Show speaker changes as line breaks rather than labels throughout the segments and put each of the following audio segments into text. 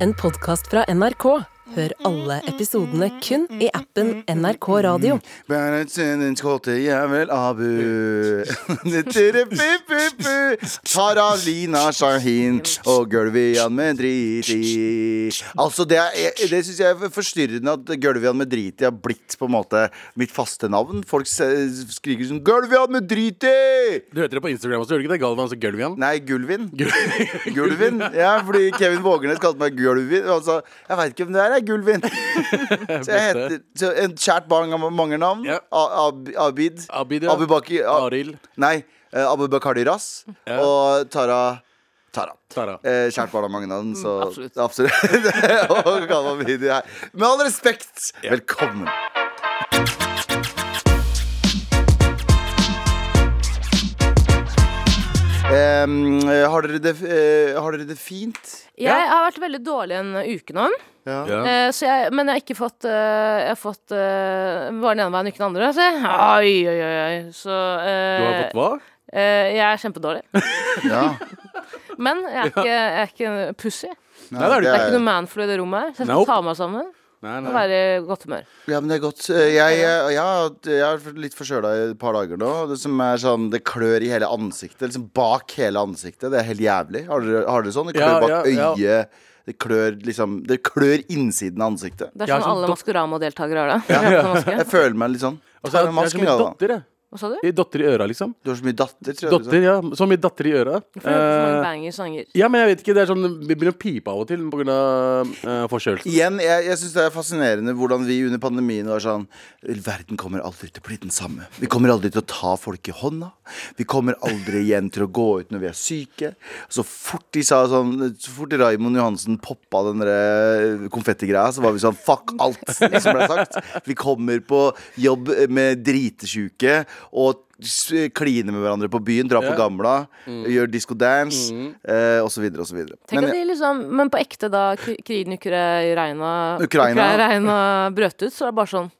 en podkast fra NRK. Hør alle episodene kun i appen NRK Radio.
Bernhard Sønnens kåte jævel Abu. Tirrepipipi. Tar av lina Shahin og Gulvian med drit i. Altså, det, er- det syns jeg er forstyrrende at Gulvian med drit i har blitt på en måte mitt faste navn. Folk se- skriker sånn Gulvian med drit i!
Du heter det på Instagram også, gjør du ikke det? Galvan altså Gulvian?
Nei, Gulvin. Gulvin. Ja, fordi Kevin Vågenes kalte meg Gulvin. Altså, jeg veit ikke hvem det er, jeg, Gulvin. Så jeg heter så en kjært barn av mange navn.
Ja.
A- Ab Abid.
Abid, ja.
Abubaki A-
Arild.
Nei, eh, Abubakar Diras. Og Tara Tara.
Tara. Mm,
Eh, kjært barn av mange navn, så
absolutt.
absolutt. Og Galvan Mehidi her. Med all respekt, velkommen. Em, eh, har, dere det, eh, har dere det fint?
Jeg har vært veldig dårlig en uke nå.
Ja.
Eh, så jeg, men jeg har ikke fått eh, Jeg har fått eh, bare den ene veien, ikke den andre. Så jeg, oi, oi, oi, oi. Så eh,
Du har fått hva?
eh, jeg er kjempedårlig.
Ja.
Men jeg er ikke, jeg er ikke en pussy.
Nei, det er du
Det er ikke noe manflu i det rommet her. Så jeg skal
Nope.
ta meg sammen
Nei,
og
nei.
være i godt humør.
Ja, men det er godt. Eh, Jeg, jeg, jeg, har- jeg har vært litt forkjøla i et par dager nå. Det som er sånn, det klør i hele ansiktet. Liksom bak hele ansiktet. Det er helt jævlig. Har dere, har dere sånn? Det klør
Ja,
bak
ja, ja.
øyet. Det klør liksom Det klør innsiden av ansiktet.
Det er
Jeg er
sånn
som
alle
dok-
Maskorama-deltakere har det. Dere har ikke noe
Jeg
maske.
føler meg litt sånn.
Altså, jeg,
Ta
jeg
den
har så
masken,
mye
da.
dotter, jeg.
Hva sa du?
I Dotter i øra, liksom.
Du har så mye datter, tror jeg. liksom. du sa.
Dotter, ja. Så mye datter i øra.
For det er så mange
Eh,
bangers sanger.
ja, men jeg vet ikke. Det er sånn Vi begynner å pipe av og til pga. Uh, forkjølelsen.
Igjen, jeg, jeg syns det er fascinerende hvordan vi under pandemien var sånn Verden kommer aldri til å bli den samme. Vi kommer aldri til å ta folk i hånda. Vi kommer aldri igjen til å gå ut når vi er syke. Så fort de sa sånn Så fort Raymond Johansen poppa den der eh, konfettigreia, så var vi sånn Fuck alt som ble sagt. Vi kommer på jobb med dritesjuke og s- kline med hverandre på byen, dra på
Ja.
gamla, gjør disco dance, eh, og så videre og så videre.
Tenk
Men-
at de liksom, men på ekte, da kri- krigen i Ukraina,
Ukraina.
Ukraina brøt ut, så er det bare sånn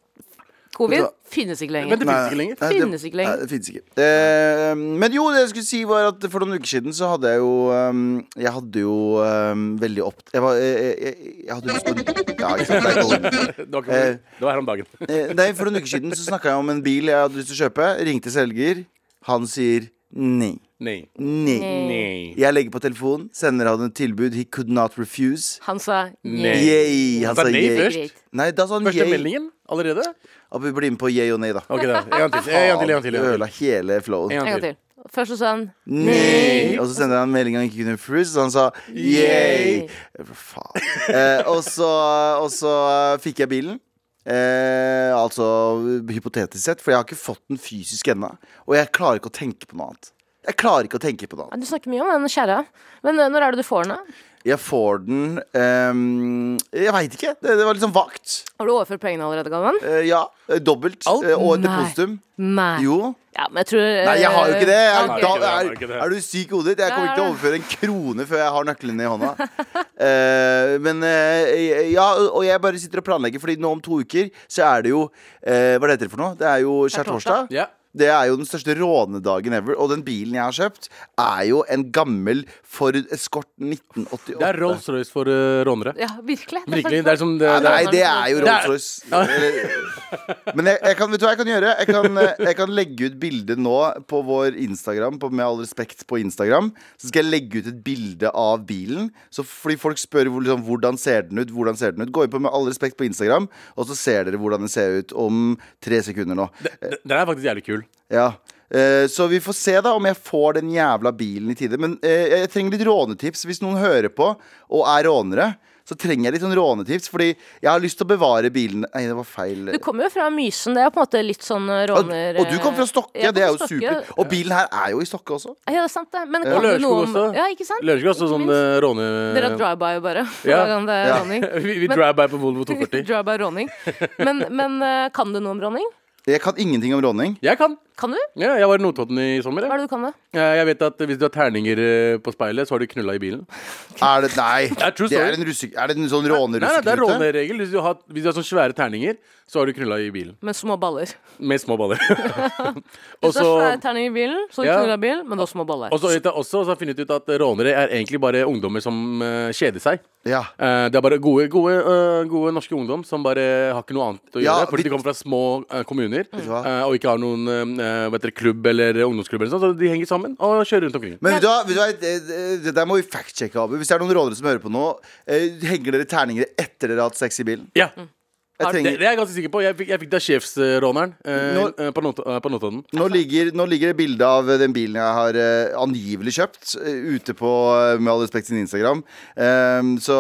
Covid finnes ikke
Men
lenger.
det finnes ikke
Nei,
lenger.
det-
Finnes ikke lenger.
Nei, det finnes ikke. Eh, men jo, det jeg skulle si var at for noen uker siden så hadde jeg jo ehm, Jeg hadde jo ehm, veldig opp... Jeg, var, jeg, jeg, jeg hadde lyst på en ja, ikke sant, det er ikke
Det var, ikke, det var her om dagen.
Eh, Nei, for noen uker siden så snakka jeg om en bil jeg hadde lyst til å kjøpe. Ringte selger. Han sier nei.
Nei.
Nei.
Nei.
Jeg legger på telefonen, sender han et tilbud he could not refuse.
Han sa
Nei.
Yay. Han
Sa
sa
nei
yay.
først?
Nei, da sa han
Første
yay.
meldingen allerede?
Abu, bli med på yay og nei, da.
Ok, da. En gang til. En gang til.
Faen,
En gang til. En
Ødela
gang til.
hele flowen.
En
En
gang
gang
til.
til. Først så sa han
Nei. Og så sendte han en melding han ikke kunne refuse, så han sa yay. Faen. Eh, og, så, og så fikk jeg bilen. Eh, altså hypotetisk sett, for jeg har ikke fått den fysisk ennå. Og jeg klarer ikke å tenke på noe annet. Jeg klarer ikke å tenke på noe
ja,
annet.
Du snakker mye om den kjerra. Men eh, når er det du får den? da?
Jeg får den ehm, Jeg veit ikke. Det, det var litt sånn vagt.
Har du overført pengene allerede, Galvan?
Eh, ja. eh, Dobbelt.
Alt?
eh, og et
Nei.
depositum.
Nei.
Jo.
Ja, men jeg tror eh,
Nei, jeg har jo ikke det. Jeg,
Ok.
da,
Jeg har ikke
er,
det.
er du syk i hodet ditt? Jeg kommer ikke til å
Ja.
overføre en krone før jeg har nøklene i hånda. Eh, men eh, ja, og jeg bare sitter og planlegger, Fordi nå om to uker så er det jo eh, Hva det heter det for noe? Det er jo skjærtorsdag.
Ja.
Det er jo den største rånedagen ever. Og den bilen jeg har kjøpt, er jo en gammel Ford Escort 1988.
Det er Rolls-Royce for eh, rånere.
Ja, virkelig. Det er sånn-
Virkelig.
sant.
Det er sånn- som det,
Nei,
det
nei, det er jo
Det er-
Rolls-Royce. Eller- Men jeg, jeg kan, vet du hva jeg kan gjøre? Jeg kan, eh, jeg kan legge ut bilde nå på vår Instagram, på, med all respekt på Instagram. Så skal jeg legge ut et bilde av bilen. Så fordi folk spør hvor, liksom, hvordan ser den ut, hvordan ser den ut. Gå inn på med all respekt på Instagram, og så ser dere hvordan den ser ut om tre sekunder nå.
Den- Den er faktisk jævlig kul.
Ja Eh, så vi får se da om jeg får den jævla bilen i tide. Men eh, jeg trenger litt rånetips hvis noen hører på og er rånere. Så trenger jeg litt sånn rånetips, fordi jeg har lyst til å bevare bilen Nei, det var feil.
Du kommer jo fra Mysen. Det er på en måte litt sånn eh,
og,
råner...
og du kom fra Stokke,
Jeg kom
det er jo
fra Stokke.
super. Og bilen her er jo i Stokke også.
Ja, det er sant, det. Men
Ja.
kan du
Lørenskog
noe om
også.
Ja, ikke sant?
Lunsjer også sånn
minst.
eh, råne...
Dere har drive-by, bare.
Ja.
Hvordan eh, det er
Ja.
råning.
Vi, vi
Men-
drive by på Volvo 240.
Drive-by råning. Men, men eh, kan du noe om råning?
Jeg kan ingenting om råning.
Jeg kan.
Kan du?
Ja, jeg var i Notodden i sommer. Jeg.
Hva er det du kan, da?
Ja, jeg vet at Hvis du har terninger eh, på speilet, så har du knulla i bilen.
Er det Nei.
er true
Det er
story.
en, russe, er det en sånn
Nei, nei, det er
råneruseknute?
råneregel. Hvis du har, hvis du har sånne svære terninger, så har du knulla i bilen.
Med små baller.
Med små baller. og
Hvis du
så
har svær terning i bilen, så
Ja.
knuller du av bilen, men det er små baller.
og så vet jeg også, så har jeg funnet ut at rånere er egentlig bare ungdommer som eh, kjeder seg.
Ja.
Eh, det er bare gode, gode, eh, gode norske ungdom som bare har ikke noe annet å gjøre.
Ja,
fordi
vi-
de kommer fra små eh, kommuner
du hva?
eh, og ikke har noen eh, vet dere, klubb eller ungdomsklubb. Eller sånn, så de henger sammen og kjører rundt omkring.
Men vet du hva, vet du hva det, det der må vi factsjekke, Abu. Hvis det er noen rånere som hører på nå, eh, henger dere terninger etter dere har hatt sex i bilen?
Ja,
Jeg
det, det
trenger,
er jeg ganske sikker på. Jeg fikk, jeg fikk det av sjefsråneren eh,
Nå-
eh, på Not- eh, på Notodden.
nå, ligger, nå ligger det bilde av eh, den bilen jeg har eh, angivelig kjøpt, eh, ute på eh, Med all respekt sin Instagram. Ehm, så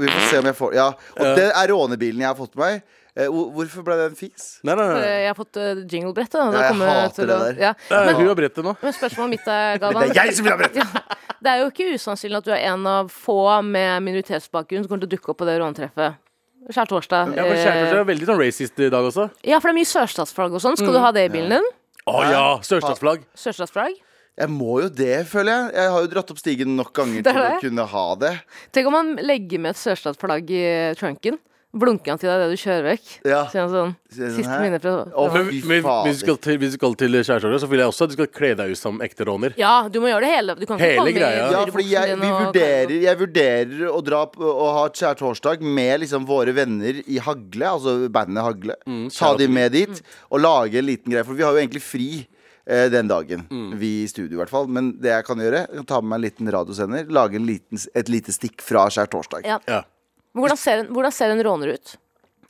vi får se om jeg får Ja. Og det er rånebilen jeg har fått meg. Eh, hvor- hvorfor ble det en fis?
Nei, nei,
Eh,
nei.
Jeg har fått eh, jinglebrett. da,
Ja,
og det
jeg
kommer
hater
til
det
å-
der.
Ja.
Det er hun og brettet nå.
Men spørsmålet mitt er, Galvan
Det er jeg som vil ha brett!
Det er jo ikke usannsynlig at du er en av få med minoritetsbakgrunn som kommer til å dukke opp på det rånetreffet. Skjærtorsdag.
Ja, for Kjærtorsdag
Eh,
er veldig sånn racist i dag også.
Ja, for det er mye sørstatsflagg og sånn. Skal du
Mm.
ha det i bilen din?
Å ja! Sørstatsflagg.
Sørstatsflagg?
Jeg må jo det, føler jeg. Jeg har jo dratt opp stigen nok ganger
Det er
til å
det.
kunne ha det.
Tenk om man legger med et sørstatsflagg i eh, trunken. Blunker han til deg det du kjører vekk?
Ja.
Sier han sånn
Sier han sånn
Siste
her?
minne fra
Å,
fra-
Men,
fy
men
fader.
hvis du skal til, hvis du skal til Kjærtorsdag, så vil jeg også at du skal kle deg ut som ekte råner.
Ja, du må gjøre det hele. Du kan
Hele
ikke komme i
greia.
Ja,
dyrebuksen
fordi jeg,
din
vi
og-
vurderer, jeg vurderer å dra på og ha kjærtorsdag med liksom våre venner i Hagle, altså bandet Hagle. Ta
shout-out
de med dit
Mm.
og lage en liten greie, for vi har jo egentlig fri. eh, Den dagen.
Mm.
Vi i studio, i hvert fall. Men det jeg kan gjøre, jeg kan ta med meg en liten radiosender. Lage en liten, et lite stikk fra skjærtorsdag.
Ja.
Ja.
Men hvordan ser, en, hvordan ser en råner ut?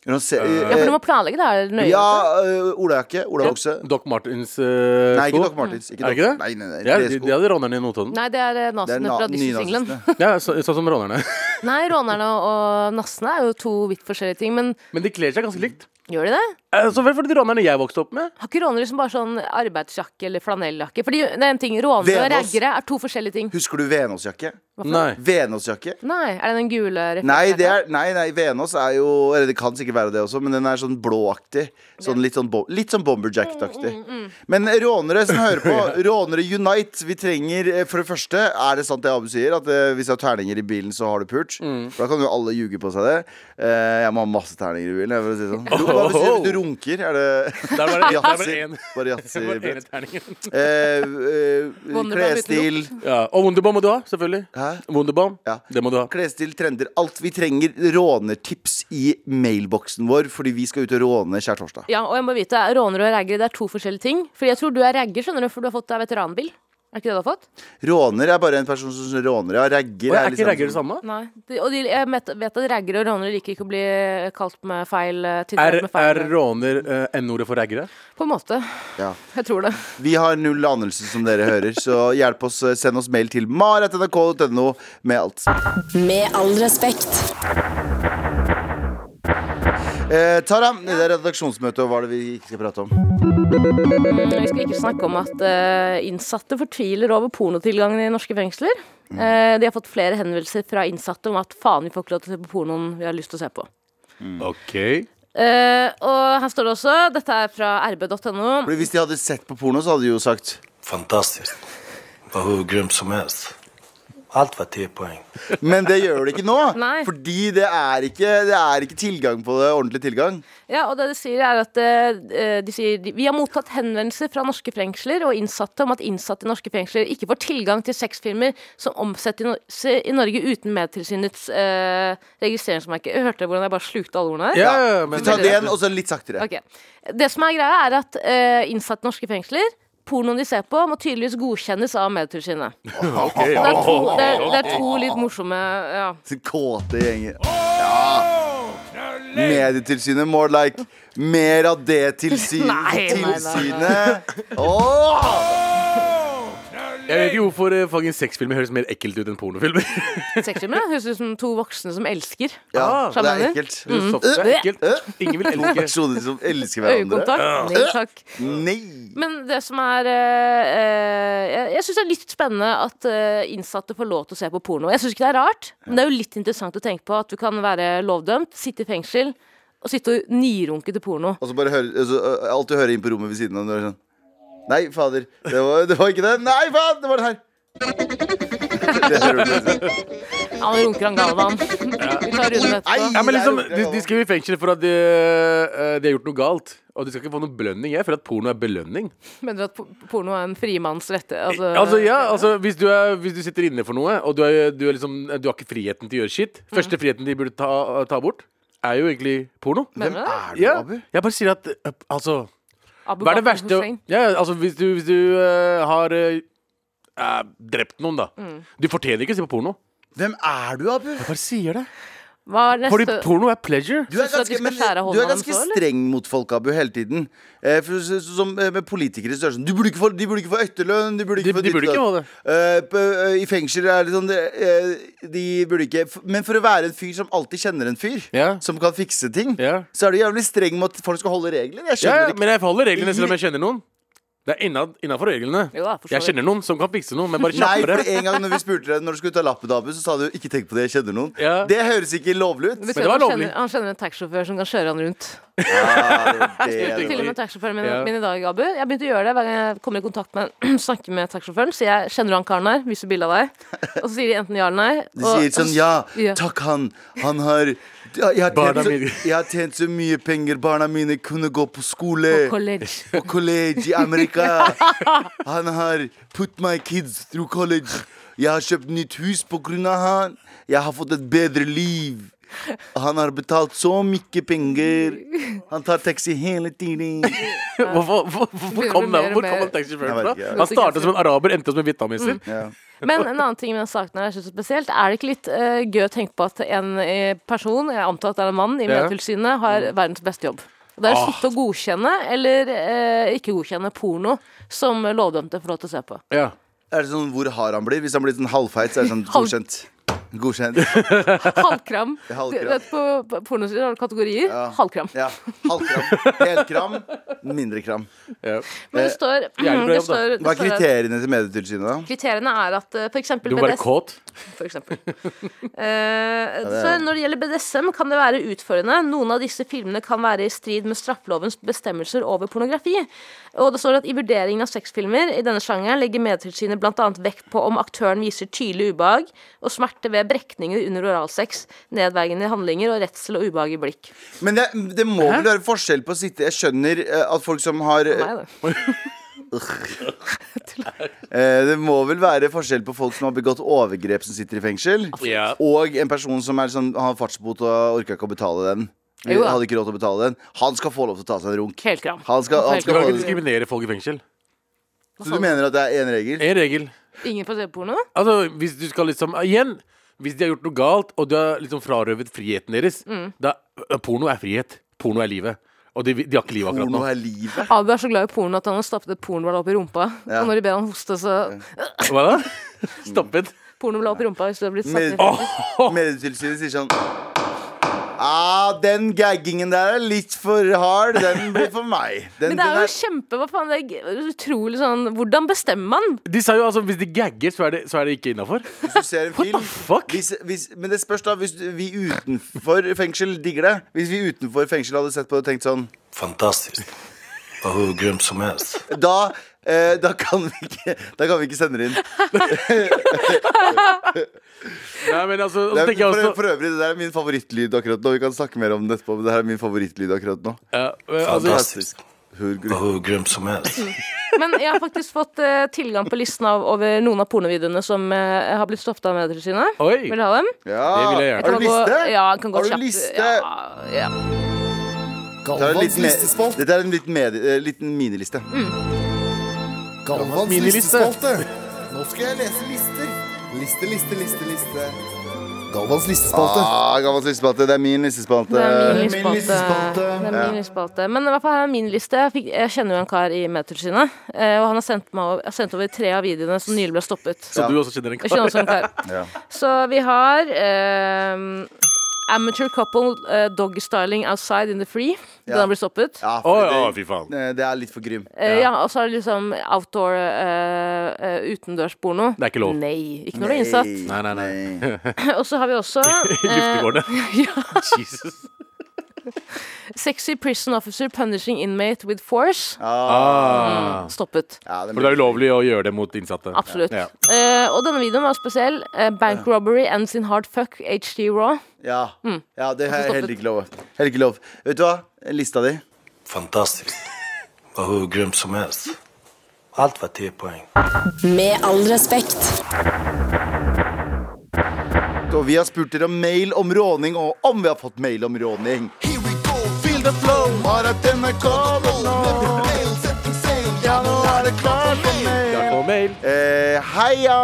Kan du se-
Ja, for du
eh,
må planlegge det her nøye.
Ja, eh, olajakke. Olabukse.
Doc Martens eh,
Nei, ikke
sko.
Doc Martens. Ikke
Er det ikke
Doc-
det?
Nei, nei, nei,
Ja, de,
tresko.
de hadde rånerne i Notodden.
Nei, det er eh,
Det er
nazistene
na-
fra Disney-singelen.
nynazistene.
Ja, så, sånn som rånerne.
Nei, rånerne og nassene er jo to vidt forskjellige ting, men
Men de kler seg ganske likt.
gjør de det?
Eh, Så vel for de rånerne jeg vokste opp med.
Har ikke rånere liksom bare sånn arbeidsjakke eller flanelljakke? Fordi det er en ting, Rånere og
Venås.
raggere er to forskjellige ting.
Husker du Venås-jakke?
Nei.
Venås-jakke?
Nei, er det den gule refleksjakka?
Nei, det er, nei, nei, Venås er jo Eller det kan sikkert være det også, men den er sånn blåaktig. Sånn litt sånn, bo- litt sånn Bomberjack-aktig. Men rånere som hører på, rånere unite. Vi trenger eh, For det første, er det sant det Abu sier, at eh, hvis du har terninger i bilen, så har du pult? For da kan jo alle ljuge på seg det. Eh, jeg må ha masse terninger i bilen. Jeg, for å si det sånn. Hva vil du si hvis du runker? Er det
Der var det, der var det
Yatzy?
en.
Bare yatzy.
Bare ene terningen.
Eh, eh,
Wonderbomb uten
Klesstil.
Ja, og Wunderbaum må du ha, selvfølgelig.
Hæ?
Wunderbaum,
Ja.
det må du ha.
Klesstil, trender, alt. Vi trenger rånetips i mailboksen vår, fordi vi skal ut og råne skjærtorsdag.
Ja, og jeg må vite, rånere og raggere det er to forskjellige ting. Fordi jeg tror du er ragger, skjønner du, for du har fått deg veteranbil. Er ikke det du har fått?
Råner er bare en person som råner. Ja, ragger
Og
er
er ikke
liksom
ragger det samme?
Nei. De, og de, jeg vet, vet at raggere og rånere liker ikke å bli kalt med feil eh,
Er,
titulert med feil
er råner eh, n-ordet for raggere?
På en måte.
Ja.
Jeg tror det.
Vi har null anelse, som dere hører, så hjelp oss. eh, Send oss mail til maratnrk.no med alt.
Med all respekt.
Eh, Tara, det er redaksjonsmøte, og hva er det vi ikke skal prate om?
Vi skal ikke snakke om at eh, innsatte fortviler over pornotilgangen i norske fengsler. Eh, de har fått flere henvendelser fra innsatte om at faen, vi får ikke lov til å se på pornoen vi har lyst til å se på.
OK.
Eh, og her står det også, dette er fra rb.no.
Fordi Hvis de hadde sett på porno, så hadde de jo sagt
Fantastiskt. Var hur grym som helst. Allt var 10 poäng.
Men det gjør de ikke nå.
Nei.
Fordi det er ikke, det er ikke tilgang på det. Ordentlig tilgang.
Ja, og det de sier er at eh, de sier de- Vi har mottatt henvendelser fra norske fengsler og innsatte om at innsatte i norske fengsler ikke får tilgang til sexfilmer som omsettes i, Nor se i Norge uten Medtilsynets eh, registreringsmerke. Hørte dere hvordan jeg bare slukte alle ordene her?
Ja, ja,
Ja,
men-
vi tar det igjen, og så litt saktere.
Ok. Det som er greia, er at eh, innsatte i norske fengsler Pornoen de ser på, må tydeligvis godkjennes av Medtilsynet. Det, er to- det, er- det er to litt morsomme ja.
Til kåte gjenger. Ja. Medietilsynet more like mer av det tilsyn,
Nei, nei, nei, nei.
tilsynet. Åh!
Jeg vet ikke hvorfor eh, fucking sexfilmer høres mer ekkelt ut enn pornofilmer.
Mm.
sexfilmer. da. Høres ut som to voksne som elsker.
Ja,
Ah, Mm.
det er
skjønner du?
ekkelt.
Det er soft,
Eh,
det er ekkelt. Ingen vil
To
elske
personer som elsker hverandre.
Øyekontakt. Nei takk.
Nei!
Men det som er eh, eh, Jeg, jeg syns det er litt spennende at eh, innsatte får lov til å se på porno. Jeg syns ikke det er rart, men det er jo litt interessant å tenke på at du kan være lovdømt, sitte i fengsel og sitte og nirunke til porno.
Og så bare høre, altså, alt du hører inn på rommet ved siden av når det er sånn Nei, fader. Det var, det var ikke den. Nei, faen! Det var den her. Det hører du ikke.
Han runker han Galvan. Vi tar runden etterpå.
Nei.
Ja, men liksom,
Det er jo-
de, de skal i fengsel for at de, eh, de har gjort noe galt. Og de skal ikke få noe belønning. Jeg føler at porno er belønning.
Mener du at po- porno er en frimannsrette? Altså,
Altså, ja, altså, hvis, du er, hvis du sitter inne for noe, og du, er, du, er liksom, du har ikke friheten til å gjøre shit
Mhm.
Første friheten de burde ta, ta bort, er jo egentlig porno.
Mener du det?
Er du
Ja,
Abu?
jeg bare sier at eh, Altså,
Abu
hva er det
Bakr
verste å-
Hussein.
ja, altså, Hvis du, hvis du eh, har eh, eh, drept noen, da.
Mm.
Du fortjener ikke å se på porno.
Hvem er du, Abu?
Jeg bare sier det.
Hva er neste
Fordi porno er pleasure.
Du er
Synes du at
ganske,
de skal
men, eh,
skjære
du
hånda
er ganske
hans også, eller?
streng mot folk, Abu, hele tiden. Eh, for, så, så, som eh, med politikere så er det sånn Du burde ikke få, de burde ikke få etterlønn. De burde
De-
ikke få
de
ditt
burde ikke
og datt. Eh, på- eh, I fengsel er det sånn det, eh, De burde ikke f- Men for å være en fyr som alltid kjenner en fyr,
Ja.
som kan fikse ting,
Ja.
så er du jævlig streng med at folk skal holde regler. Jeg
Ja,
skjønner
ja,
ikke.
men jeg holder reglene selv om jeg kjenner noen. Det er innafor reglene.
Jo da, for så
Jeg
vidt.
kjenner noen som kan fikse noe, men bare
Nei, for
kjappere.
en gang når vi spurte deg når du skulle ta lappen, Abu, så sa du 'ikke tenk på det, jeg kjenner noen'.
Ja.
Det høres ikke lovlig ut.
Men
det var
han
lovlig.
kjenner- Han kjenner en taxisjåfør som kan kjøre han rundt.
Ja, det, var det,
Til og med taxisjåføren min,
Ja.
min i dag, Abu. Jeg begynte å gjøre det hver gang jeg kommer i kontakt med snakker med taxisjåføren. Sier jeg 'Kjenner du han karen her?' Viser bilde av deg. Og så sier de enten ja eller nei.
De
og-
sier sånn Ja,
Ja.
takk han. Han har ja, jeg har,
Barna
tjent så,
mine.
jeg har tjent så mye penger. Barna mine kunne gå på skole.
På college.
På college i Amerika. Han har put my kids through college. Jeg har kjøpt nytt hus på grunn av han. Jeg har fått et bedre liv. Han har betalt så mye penger. Han tar taxi hele tiden.
Hvorfor hvor, hvor, hvor kom den
Begynner mer og
hvor kom
mer-
den taxisjåføren
Jeg vet
fra?
ikke, jeg.
Han startet som en araber, endte som en vietnameser.
Mm.
Ja.
Men en annen ting med den saken her jeg synes er spesielt, er det ikke litt eh, gøy å tenke på at en eh, person, jeg antar at det er en mann, i
Ja.
Medietilsynet har
Mm.
verdens beste jobb? Og Det er å sitte og godkjenne, eller eh, ikke godkjenne, porno som lovdømte får lov til å se på.
Ja.
Er det sånn hvor hard han blir? Hvis han blir sånn halvfeit, så er det sånn
Halv-
godkjent. Godkjent.
Halvkram.
er halvkram.
Du vet, På på pornosider har du kategorier. Halvkram.
Ja. Halvkram. Helkram. Mindre kram.
ja.
Men det står,
jævlig bra
det
jobb, da.
står, det
Hva er
står her-
kriteriene til Medietilsynet, da?
Kriteriene er at eh, for eksempel
Du må være
BDS
kåt.
for eksempel. Eh, så når det gjelder BDSM, kan det være utførende. Noen av disse filmene kan være i strid med straffelovens bestemmelser over pornografi. Og det står at i vurderingen av sexfilmer i denne sjangeren legger Medietilsynet bl.a. vekt på om aktøren viser tydelig ubehag og smerte ved brekninger under oralsex, nedverdigende handlinger og redsel og ubehag i blikk.
Men det, det må vel være forskjell på å sitte Jeg skjønner eh, at folk som har
For
eh,
meg, da.
eh, Det må vel være forskjell på folk som har begått overgrep som sitter i fengsel,
Ja.
og en person som er sånn, har fartsbot og orka ikke å betale den.
Jo da.
Hadde ikke råd til å betale den. Han skal få lov til å ta seg en runk.
Helkram.
Han skal, han
Du
Du
skal
kan
få
ikke
det.
diskriminere folk i fengsel.
Så du mener at det er én regel?
En regel.
Ingen får se porno?
Altså, hvis du skal liksom Igjen, hvis de har gjort noe galt, og du har liksom frarøvet friheten deres,
Mm.
da Porno er frihet. Porno er livet. Og de, de har ikke livet akkurat
Porno
nå.
er livet.
Abu er så glad i porno at han har stappet et pornoblad opp i rumpa.
Ja.
Og når de ber han hoste, så
Hva da? Stoppet.
Pornoblad opp i rumpa hvis du har blitt satt i
Med-
fengsel.
Medietilsynet sier sånn Ah, den gaggingen der er litt for hard. Den blir for meg. Den,
Men det
den
er jo kjempe, hva faen, det er g- utrolig sånn Hvordan bestemmer man?
De sa jo altså hvis de gagger, så er det, så er det ikke innafor.
Hvis du ser en film
fuck?
Hvis, hvis, Men det spørs da Hvis vi utenfor fengsel digger det Hvis vi utenfor fengsel hadde sett på det og tenkt sånn
Fantastiskt. Och hur grym som helst.
Da, eh, da, kan, vi ikke, da kan vi ikke sende det inn det
Nei, men altså, og så
er,
tenker jeg
for,
også
for øvrig, det der er min favorittlyd akkurat nå Vi kan snakke mer om den etterpå Men det her er min favorittlyd akkurat nå
ja, eh, altså,
Fantastiskt. Och hur grym som helst.
Men jeg har faktisk fått eh, tilgang på listen av, over noen av pornovideoene som eh, har blitt stoppet av Medietilsynet.
Oi.
Vil du ha dem?
ja.
Det vil jeg gjerne.
Har du
Kan gå-
liste?
Ja, jeg kan gå
Har du
kjapt.
liste?
Ja, ja.
Dette er en
Galvans
liten,
listespalte.
dette er en liten, medie, eh, liten miniliste
Galvans
miniliste.
listespalte. Nå skal jeg lese lister. Liste, liste, liste, liste. Galvans listespalte.
ah, Gammels listespalte, det er min listespalte
Det er min
Min listespalte.
listespalte. Det er min listespalte. Men i hvert fall her er min liste. Jeg, fikk, jeg kjenner jo en kar i Medietilsynet. eh, Og han har sendt, meg, over- har sendt over tre av videoene som nylig ble stoppet.
Så du også kjenner en
Jeg
kar?
kjenner også en kar.
Ja.
Så vi har ehm, Amateur couple eh, dog styling outside in the free. Den
Ja.
har blitt stoppet.
ja,
Å
for
ja,
det,
fy faen.
eh, det er litt for grym
Eh, ja, Og så er det liksom outdoor eh, eh, utendørsporno.
Det er ikke lov.
Nei, ikke når du er innsatt.
Nei, nei, nei.
Og så har vi også eh,
I luftegården. Jesus.
Sexy prison officer punishing inmate with force. Mm,
Ah.
Stoppet.
Ja, den
For det er
blir-
ulovlig å gjøre det mot innsatte.
Absolutt.
Ja.
Eh, og denne videoen var spesiell. Eh, bank robbery ends in hard fuck, HD Raw.
ja. ja, det er
Mm. stoppet.
heller ikke lov. Heller ikke lov. Vet du hva? Lista di.
Fantastiskt. Var hur grym som helst. Allt var 10 poäng.
Med all respekt.
Og vi har spurt dere om mail om råning, og om vi har fått mail om råning.
Here we go, feel the flow. Har at den er klar for nå. Mail, sett en seil. Ja, nå er det klart for mail.
Jeg får mail.
Eh, heia!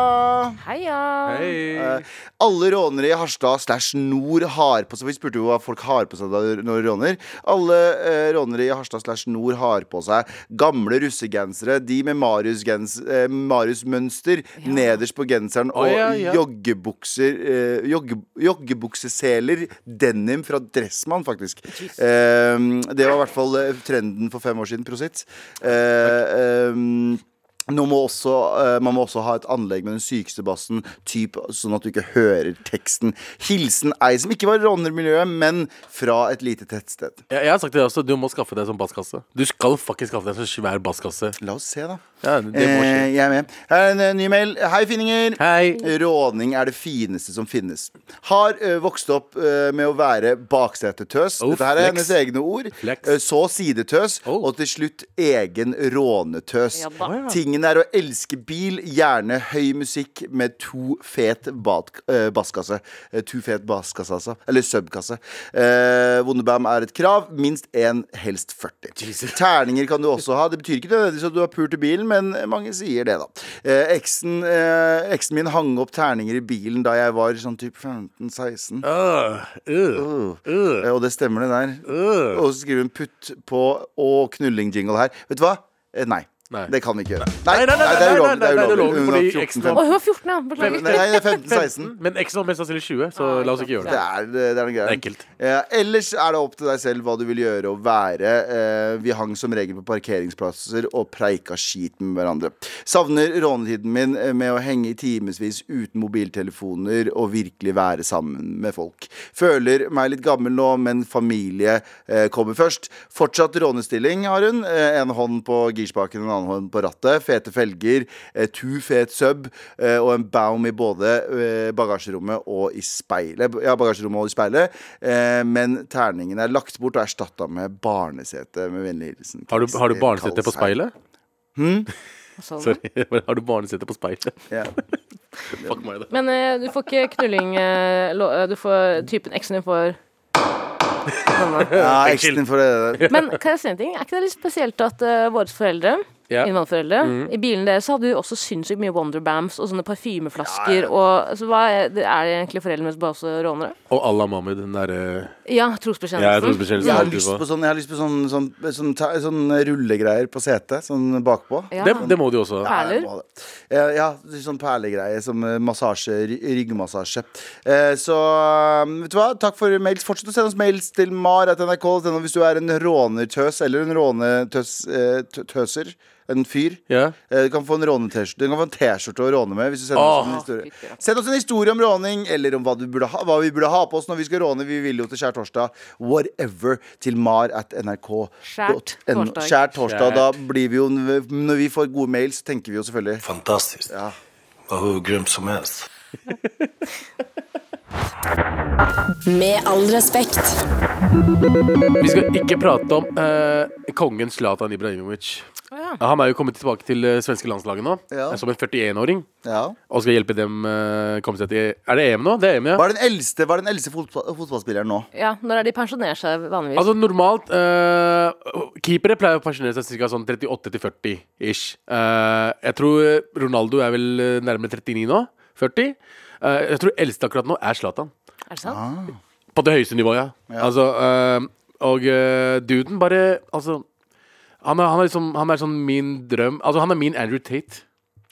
Heia!
Hei.
Alle rånere i Harstad slash Nord har på seg Vi spurte jo hva folk har på seg da når de råner. Alle eh, rånere i Harstad slash Nord har på seg gamle russegensere. De med Marius-gens- eh, Marius-mønster nederst på genseren og
ja, ja.
joggebukser eh, jogge, Joggebukseseler. Denim fra Dressmann, faktisk. Eh, det var i hvert fall eh, trenden for fem år siden. Prosit. Eh, eh, nå må også, eh, man må også ha et anlegg med den sykeste bassen, typ, sånn at du ikke hører teksten. Hilsen ei som ikke var rånermiljøet, men fra et lite tettsted.
Jeg, jeg har sagt det også, du må skaffe deg en sånn basskasse. Du skal fucking skaffe deg en sånn svær basskasse.
La oss se, da.
Ja, det må skje.
Eh, jeg er med. Her er en eh, ny mail. Hei, finninger.
Hei.
Råning er det fineste som finnes. Har ø, vokst opp ø, med å være baksetetøs.
Oh,
Dette her er
flex.
hennes egne ord.
Flex.
Ø, Så sidetøs,
Oh.
og til slutt egen rånetøs.
Ja da. Å,
Tingen er å elske bil, gjerne høy musikk med to fet bak, ø, basskasse. Eh, To fet basskasse, altså. Eller subkasse. Uh, Wonderbam er et krav. Minst én, helst 40. Terninger kan du også ha. Det betyr ikke nødvendigvis at du har pult i bilen, men mange sier det, da. Eh, eksen, eh, eksen min hang opp terninger i bilen da jeg var sånn typ 15-16.
Øh, øh, øh,
Eh, og det stemmer, det der.
øh.
Og så skriver hun 'putt på og knulling-jingle' her. Vet du hva? Eh, nei.
Nei.
Det kan vi ikke gjøre.
Nei, nei, nei,
det er
nei,
ulovlig. Det
nei, nei,
er
det er
ulovlig.
ulovlig,
Hun var
fordi
14,
eksen-
15.
Å, hun var 14, ja. Beklager.
Nei, det er 15-16.
Men eksen var mest sannsynlig 20, så la oss ikke gjøre
Det
det.
er, eh, det er noe greier.
Det er ekkelt.
Eh, ellers er det opp til deg selv hva du vil gjøre og være. Eh, vi hang som regel på parkeringsplasser og preika skit med hverandre. Savner rånetiden min eh, med å henge i timevis uten mobiltelefoner og virkelig være sammen med folk. Føler meg litt gammel nå, men familie eh, kommer først. Fortsatt rånestilling har hun. Eh, en hånd på girspaken, en annen hånd på rattet. Fete felger, eh, tu fet sub eh, og en baum i både eh, bagasjerommet og i speilet. Ja, bagasjerommet og i speilet. Eh, men terningen er lagt bort og erstatta med barnesete. Med vennlig hilsen.
Har du, har du
Christer
barnesete på
Kalsheim.
speilet?
Sånn.
Sorry. men Har du barnesete på speilet?
Ja.
Fuck meg, det.
Men eh, du får ikke knulling eh, lo- eh, Du får typen eksen din får
ja, eksen for det der.
Men kan jeg si en ting? Er ikke det litt spesielt at eh, våre foreldre
Ja. Mm.
Innvandrerforeldre. I bilen deres så hadde de også sinnssykt mye Wonderbams og sånne parfymeflasker. Og, altså, hva er, det, er det egentlig foreldrene som bare også rånere?
Og Allah Mahmoud, den øh, derre
Ja,
Jeg tror
trosbekjennelsen.
spesielt
Jeg har
alltid
lyst
på.
på sånn, jeg har lyst på sånn, sånn, sånn, ta- sånn rullegreier på setet. Sånn bakpå.
Ja.
det, det må de også ha.
Ja, jeg
Perler.
må det. Ja, ja, sånn perlegreie som eh, massasje, ry- ryggmassasje. Eh, Så um, vet du hva, takk for mails. Fortsett å sende oss mails til mar.nrk.no hvis du er en rånertøs eller en rånetøser. En fyr.
Ja.
Eh, Du kan få en råneteskjorte Du kan få en T-skjorte å råne med. Hvis du sender oss en
Åh.
historie Send oss en historie om råning, eller om hva, du burde ha, hva vi burde ha på oss når vi skal råne. Vi vil jo til skjærtorsdag. Whatever til mar at nrk.
Skjært torsdag.
Skjær torsdag. Da blir vi jo Når vi får gode mail, så tenker vi jo selvfølgelig
Fantastiskt.
Ja.
Var hur grym som helst.
Med all respekt.
Vi skal ikke prate om eh, kongen Zlatan Ibrahimovic. Han er jo kommet tilbake til det svenske landslaget nå,
Ja.
som en 41-åring.
ja.
Og skal hjelpe dem eh, komme seg til Er det EM nå? Det er EM, ja.
Hva er den eldste, hva er den eldste fotball, fotballspilleren nå?
Ja, når er de pensjonerer seg vanligvis?
Altså normalt eh, Keepere pleier å pensjonere seg ca. sånn 38 til 40 ish. Eh, jeg tror Ronaldo er vel eh, nærmere 39 nå. 40. Eh, jeg tror eldste akkurat nå er Zlatan.
er det sant?
På det høyeste nivået, ja. Altså, eh, og eh, duden bare Altså han er, han, er liksom, han er sånn min drøm Altså Han er min Andrew Tate.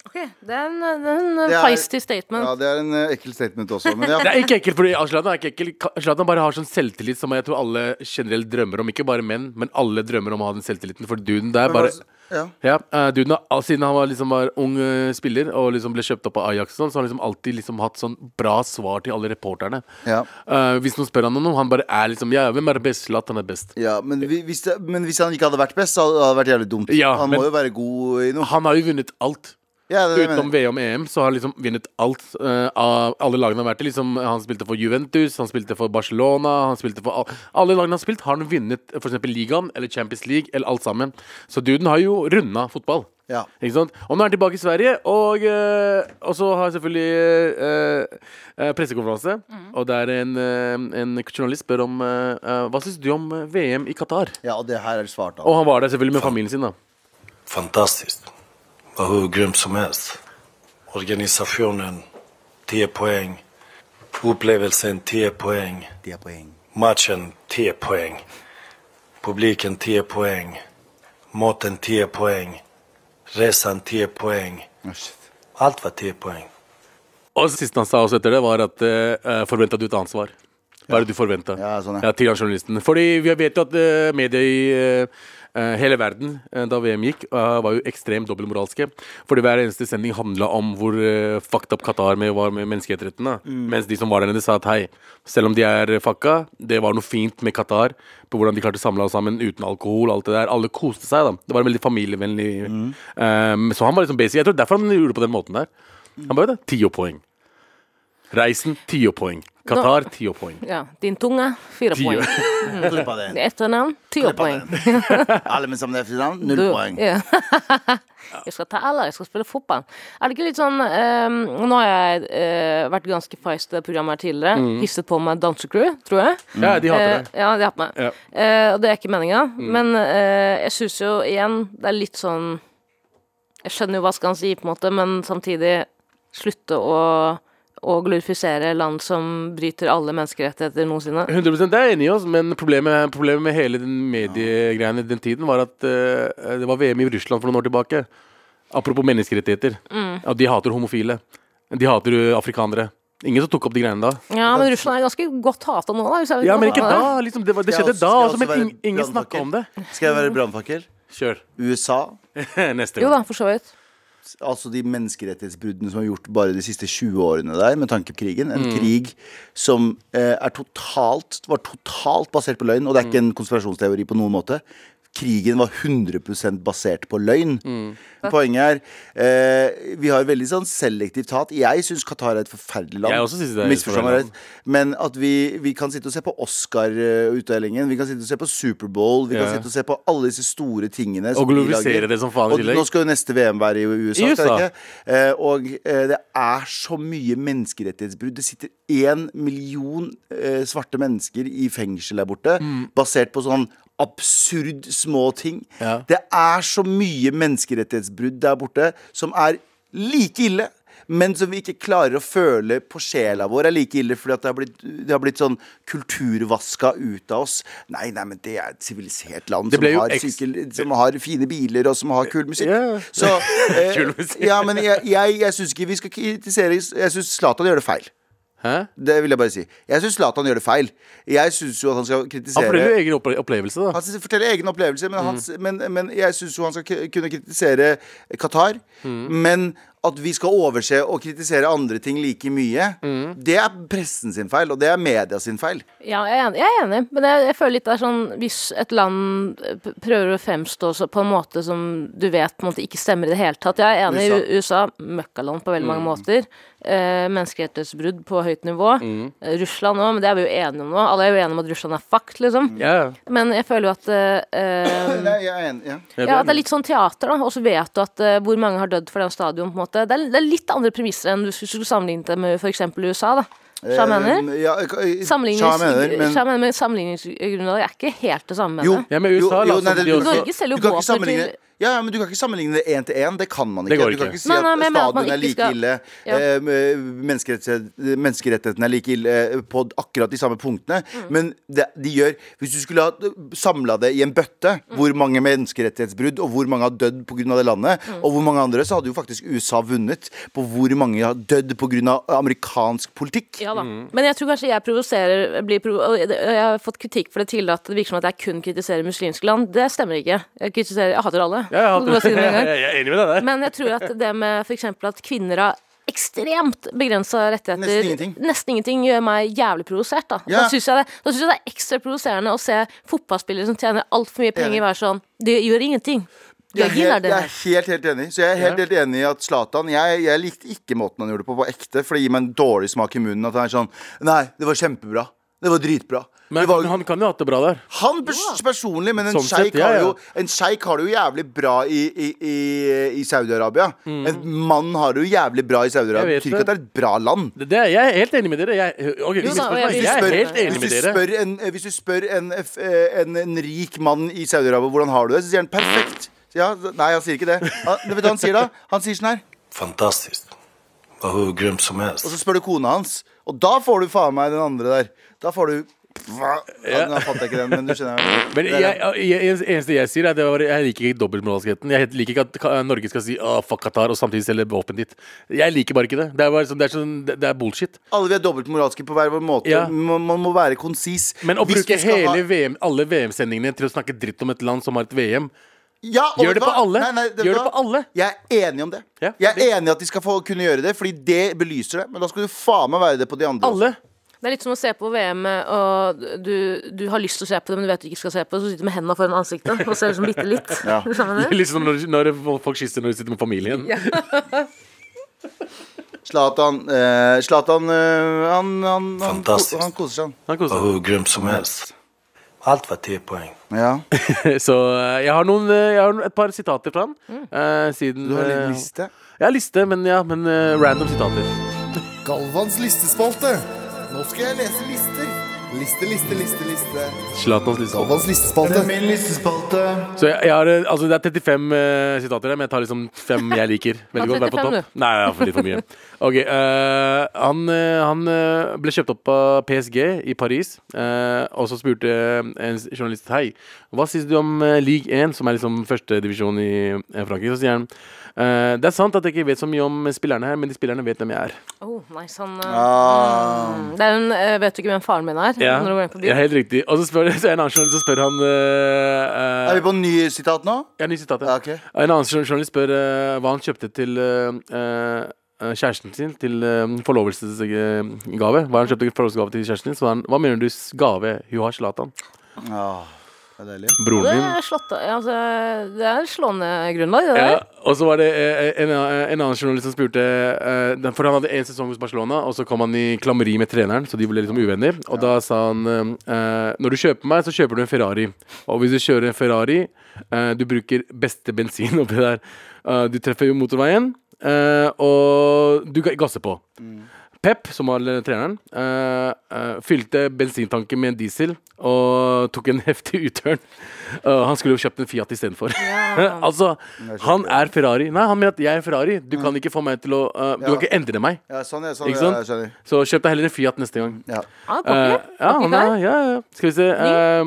Ok, Det er en, det er en
Det er-
feisty statement.
Ja, det er en eh, ekkel statement også. Men ja,
Det er ikke ekkelt, fordi Zlatan er ikke ekkel. Ka- Zlatan bare har sånn selvtillit som jeg tror alle generelt drømmer om. Ikke bare menn, men alle drømmer om å ha den selvtilliten. For duden der bare
ja.
ja, eh, duden, har- al- Siden han var, liksom, var ung eh, spiller og liksom ble kjøpt opp av Ajax, og sånn, så har han liksom alltid liksom hatt sånn bra svar til alle reporterne.
Ja.
Eh, hvis noen spør han om noe, han bare er liksom Ja, hvem er best? Zlatan er best.
Ja, men, vi, hvis det, men hvis han ikke hadde vært best, så hadde det vært jævlig dumt.
Ja,
han
men-
må jo være god i noe.
Han har jo vunnet alt.
Ja, det, er det jeg
Utenom
mener.
VM og EM så har han liksom vunnet alt eh, av alle lagene han har vært i. Liksom, han spilte for Juventus, han spilte for Barcelona han spilte for al Alle lagene han har spilt, har han vunnet for eksempel ligaen eller Champions League eller alt sammen. Så duden har jo runda fotball.
Ja.
Ikke sant? Og nå er han tilbake i Sverige, og, eh, og så har jeg selvfølgelig eh, eh, pressekonferanse. Og der en, eh, en journalist spør om eh, eh, Hva syns du om eh, VM i Qatar?
ja, og det her er svart av.
Og han var der selvfølgelig med familien sin, da.
Fantastiskt. Var hur grym som helst. Organisationen, 10 poäng. Upplevelsen, 10 poäng.
Det er poeng.
Matchen 10 poäng. Publiken 10 poäng. Maten 10 poäng. Resan 10 poäng.
Å, shit.
Allt var 10 poäng.
Og det siste han sa også etter det, var at uh, forventa du et annet svar? Hva er det du forventa?
Ja, sånn, ja.
ja. til han journalisten. Fordi vi vet jo at eh, media i eh, eh, hele verden eh, da VM gikk, eh, var jo ekstremt dobbeltmoralske. Fordi hver eneste sending handla om hvor eh, fucked up Qatar med var med menneskerettighetene.
Mm.
Mens de som var der nede, sa at hei, selv om de er fucka, det var noe fint med Qatar. På hvordan de klarte å samle oss sammen uten alkohol. alt det der Alle koste seg. da Det var en veldig familievennlig
Mm.
eh, Så han var liksom basic. Jeg tror derfor han gjorde det på den måten der. Han bare det. Tiopoeng. Reisen, tiopoeng. Qatar, tiopoeng.
Ja, Din tunge, fire
Tio.
poeng.
Klipp av det.
Etternavn, ti poeng.
Alle med samme etternavn, null
Du-
poeng.
Ja. jeg skal ta alle, jeg skal spille fotball. Er det ikke litt sånn ehm, Nå har jeg eh, vært ganske feist i det programmet her tidligere. Hisset på meg Dansecrew, tror jeg.
Mm. Ja, de hater det.
Eh, ja, de hater meg.
Ja. Mm.
Eh, og det er ikke meninga. Men eh, jeg syns jo igjen det er litt sånn Jeg skjønner jo hva skal han si, på en måte, men samtidig slutte å å glorifisere land som bryter alle menneskerettigheter noensinne.
100 det er jeg enig i oss, men problemet, problemet med hele den mediegreiene den tiden var at eh, det var VM i Russland for noen år tilbake. Apropos menneskerettigheter. At de hater homofile. De hater eh, afrikanere. Ingen som tok opp de greiene da.
Ja, men Russland er ganske godt hata nå, da. hvis jeg-
Ja, men ikke da. Liksom, det, var, det
Skal jeg også-
skjedde da
skal jeg
også, men
også være
ing- ingen snakka
brannfakkel?
om det.
Skal jeg være brannfakkel?
Kjør.
USA,
Neste
Jo
gang.
da, for så vidt.
altså de menneskerettighetsbruddene som er gjort bare de siste 20 årene der, med tanke på krigen. En
Mm.
krig som eh, er totalt, var totalt basert på løgn, og det er ikke
Mm.
en konspirasjonsteori på noen måte. Krigen var 100 basert på løgn.
Mm.
Poenget er eh, Vi har veldig sånn selektivt hat. Jeg syns Qatar er et forferdelig land.
Jeg også synes det er et
Misforstå meg
forferdelig
rett. Men at vi, vi kan sitte og se på Oscar-utdelingen, vi kan sitte og se på Superbowl, vi kan
Ja.
sitte og se på alle disse store tingene. som
Og
de
glorifisere
lager.
det som faen i
Og
tillegg.
nå skal jo neste VM være i USA. skal
I
det
USA.
ikke? Eh, og eh, det er så mye menneskerettighetsbrudd. Det sitter én million eh, svarte mennesker i fengsel der borte,
Mm.
basert på sånn absurd små ting.
Ja.
Det er så mye menneskerettighetsbrudd der borte som er like ille. Men som vi ikke klarer å føle på sjela vår er like ille, fordi at det har blitt, det har blitt sånn kulturvaska ut av oss. Nei, nei, men det er et sivilisert land
Det
som
ble jo
har,
eks-
sykkel- som har fine biler, og som har kul musikk.
Ja.
Så, eh,
Kul musikk.
Ja, men jeg, jeg, jeg syns ikke vi skal kritisere Jeg syns Zlatan gjør det feil.
Hæ?
Det vil jeg bare si. Jeg syns Zlatan gjør det feil. Jeg syns jo at han skal
Han forteller jo
kritisere
egen Mm. opple- opplevelse, da.
han synes- forteller egne opplevelser, men, hans, men, men jeg syns jo han skal k- kunne kritisere Qatar.
Mm.
Men at vi skal overse og kritisere andre ting like mye,
Mm.
det er pressen sin feil, og det er media sin feil.
Ja, jeg er enig, jeg er enig. men jeg, jeg føler litt det er sånn Hvis et land eh, p- prøver å fremstå så, på en måte som du vet på en måte ikke stemmer i det hele tatt Jeg er enig i U- USA. Møkkaland på veldig mange måter. Eh, menneskerettighetsbrudd på høyt nivå. Eh, Russland òg, men det er vi jo enige om nå. Alle er jo enige om at Russland er fucked, liksom.
Ja, ja.
Men jeg føler jo at eh, eh,
Nei, jeg er enig. Ja.
Jeg
ja,
vet.
det er litt sånn teater, da. Og så vet du at eh, hvor mange har dødd for den stadion, på en måte. Det er, det er litt andre premisser enn hvis du skulle sammenlignet det med f.eks. USA, da. Så jeg mener.
Eh, ja, eh, Sja
Sammenlignings,
mener, men
Sja mener, men sammenligningsgrunnlaget er ikke helt det samme. mener
Jo,
jeg.
Ja, men USA la som de
du
også-
kan-
Norge selger
du kan ikke
våpen til-
sammenligne- Ja, ja, men Du kan ikke sammenligne det én til én. Det kan man ikke.
Det går
Du kan
ikke.
ikke si
Nei, nei,
at
men jeg mener at man
stadion er
ikke
like
skal-
ille,
Ja.
eh, menneskerettighet- menneskerettighetene er like ille eh, på akkurat de samme punktene.
Mm.
Men det, de gjør Hvis du skulle ha samla det i en
Mm.
bøtte, hvor mange menneskerettighetsbrudd og hvor mange har dødd pga. det landet,
Mm.
og hvor mange andre, så hadde jo faktisk USA vunnet på hvor mange har dødd pga. amerikansk politikk.
Ja da. Men jeg tror kanskje jeg provoserer blir provo og Jeg og jeg har fått kritikk for det tidligere at det virker som at jeg kun kritiserer muslimske land. Det stemmer ikke. Jeg kritiserer Jeg hater alle.
Jeg, har
Må bare si
hatt-
det med en gang.
jeg er enig med deg der.
Men jeg tror at det med for eksempel at kvinner har ekstremt begrensa rettigheter
Nesten ingenting.
nesten ingenting gjør meg jævlig provosert. Da Da
Ja.
syns jeg, det- da synes jeg det er ekstra provoserende å se fotballspillere som tjener altfor mye penger, være sånn Det gjør ingenting. Du
Jeg
er
er,
gir deg
helt,
det
jeg
her.
er helt, helt enig. Så jeg er helt, helt enig i at Zlatan jeg, jeg likte ikke måten han gjorde det på på ekte, for det gir meg en dårlig smak i munnen. At han er sånn Nei, det var kjempebra. Det var dritbra.
Men
det var,
han kan jo ha hatt det bra der.
han pers personlig, men en
Sånn sett,
sjeik har,
ja, ja.
jo- en sjeik har det jo jævlig bra i, i, i, i Saudi-Arabia. En mann har det jo jævlig bra i Saudi-Arabia.
Mm. Jeg vet
Betyr ikke
det.
at det er et bra land.
Det, det er, jeg er helt enig med dere. Jeg, ok, hvis du
da, og
spør
jeg
meg,
vil-
jeg
Spør-
er helt enig med
hvis, du
dere.
spør en, eh, hvis du spør en, f- eh, en, en rik mann i Saudi-Arabia hvordan har du det, så sier han perfekt. Ja, nei, han sier ikke det. Han, vet du hva han sier da? Han sier sånn her.
Fantastiskt. Var hur grym som
Og så
helst.
spør du kona hans, og da får du faen meg den andre der. Da får du Hva? Ja, nå fant jeg ikke den, men du skjønner.
Men jeg, jeg, jeg, eneste jeg sier, er at det var, jeg liker ikke dobbeltmoralskheten. Jeg liker ikke at Ka- Norge skal si «Åh, 'fuck Qatar' og samtidig selge våpen dit. Jeg liker bare ikke det. Det er, bare, sånn- det er, sånn, det det er bullshit.
Alle vi er dobbeltmoralske på hver vår måte.
Ja.
Man, man må være konsis.
Men å
Hvis
bruke
du skal
hele
ha-
VM, alle VM-sendingene til å snakke dritt om et land som har et VM
Ja, og
Gjør
vet
det
du
på
hva?
alle.
Nei, nei, vet du
Gjør det
hva?
på alle.
Jeg er enig om det.
Ja,
jeg
det-
er enig i at de skal få kunne gjøre det, Fordi det belyser det. Men da skal du faen meg være det på de andre.
Alle!
Det er litt som å se på VM, og du, du har lyst til å se på det, men du vet du ikke skal se på det, så sitter du med hendene foran ansiktet og ser ut som bitte litt. Sånn.
Ja.
Du skjønner det?
Litt som Liksom når, når folk kysser når de sitter med familien.
Zlatan eh, Zlatan eh, han, han, han,
Fantastisk.
han koser seg,
Han
Var
koser
hur grym som helst. Allt var 10 poäng.
han. Ja.
seg. Så eh, jeg har, noen, eh, jeg har et par sitater fra han.
Mm.
eh, siden
Du har en
eh,
liten liste.
Jeg har liste, men, ja, men eh, random sitater.
Galvans listespalte. Nå skal jeg lese lister. Liste, liste, liste, liste.
Zlatans liste.
Galvans listespalte.
Min listespalte.
Så jeg, jeg har, eh, altså det er 35 eh, sitater her, men jeg tar liksom fem jeg liker. Veldig
Ta
godt, være på
35
topp. Nei, jeg har for litt for mye. Ok, eh, Han, eh, han eh, ble kjøpt opp av PSG i Paris, eh, og så spurte en journalist Hei, hva syns du om eh, Ligue 1, som er liksom førstedivisjon i eh, Frankrike? Så sier han eh, det er sant at jeg ikke vet så mye om spillerne her, men de spillerne vet hvem jeg er.
Oh, nice, han,
Ah.
mm, det er en, eh, vet du ikke hvem faren min er?
Ja,
Når du går inn på byen.
ja helt riktig. Og så, spør, så er det en annen journalist som spør han eh, eh,
Er vi på nye sitat nå?
Ja, ny sitat, ja.
Ja, ok.
En annen jour- journalist spør eh, hva han kjøpte til eh, eh, kjæresten sin til eh, forlovelsesgave. Hva han kjøpte til forlovelsesgave til kjæresten din. Så han, hva mener du s- gave? Hun har Zlatan.
Åh, det er deilig.
Broren
Det
din.
er, slått, altså, det er slående grunnlag, det
Ja,
der.
og så var det eh, en, en annen journalist som spurte eh, den- For han hadde én sesong hos Barcelona, og så kom han i klammeri med treneren, så de ble liksom uvenner. Og da sa han eh, Når du kjøper meg, så kjøper du en Ferrari. Og hvis du kjører en Ferrari, eh, du bruker beste bensin oppi der. Eh, du treffer jo motorveien, eh, og du ga- gasser på. Pep, som var treneren, eh, eh, fylte bensintanken med en diesel og tok en heftig utørn. Eh, han skulle jo kjøpt en Fiat istedenfor. altså, han er Ferrari. Nei, han mener at jeg er Ferrari. Du kan ikke få meg til å eh, Du kan ikke endre meg.
Ja, sånn er sånn,
Ikke
ja,
sant?
jeg skjønner.
Så kjøp deg heller en Fiat neste gang.
Ja.
Ja,
Eh,
cocky.
ja,
Cocky
han
kar.
er, ja, ja. Skal vi se. eh,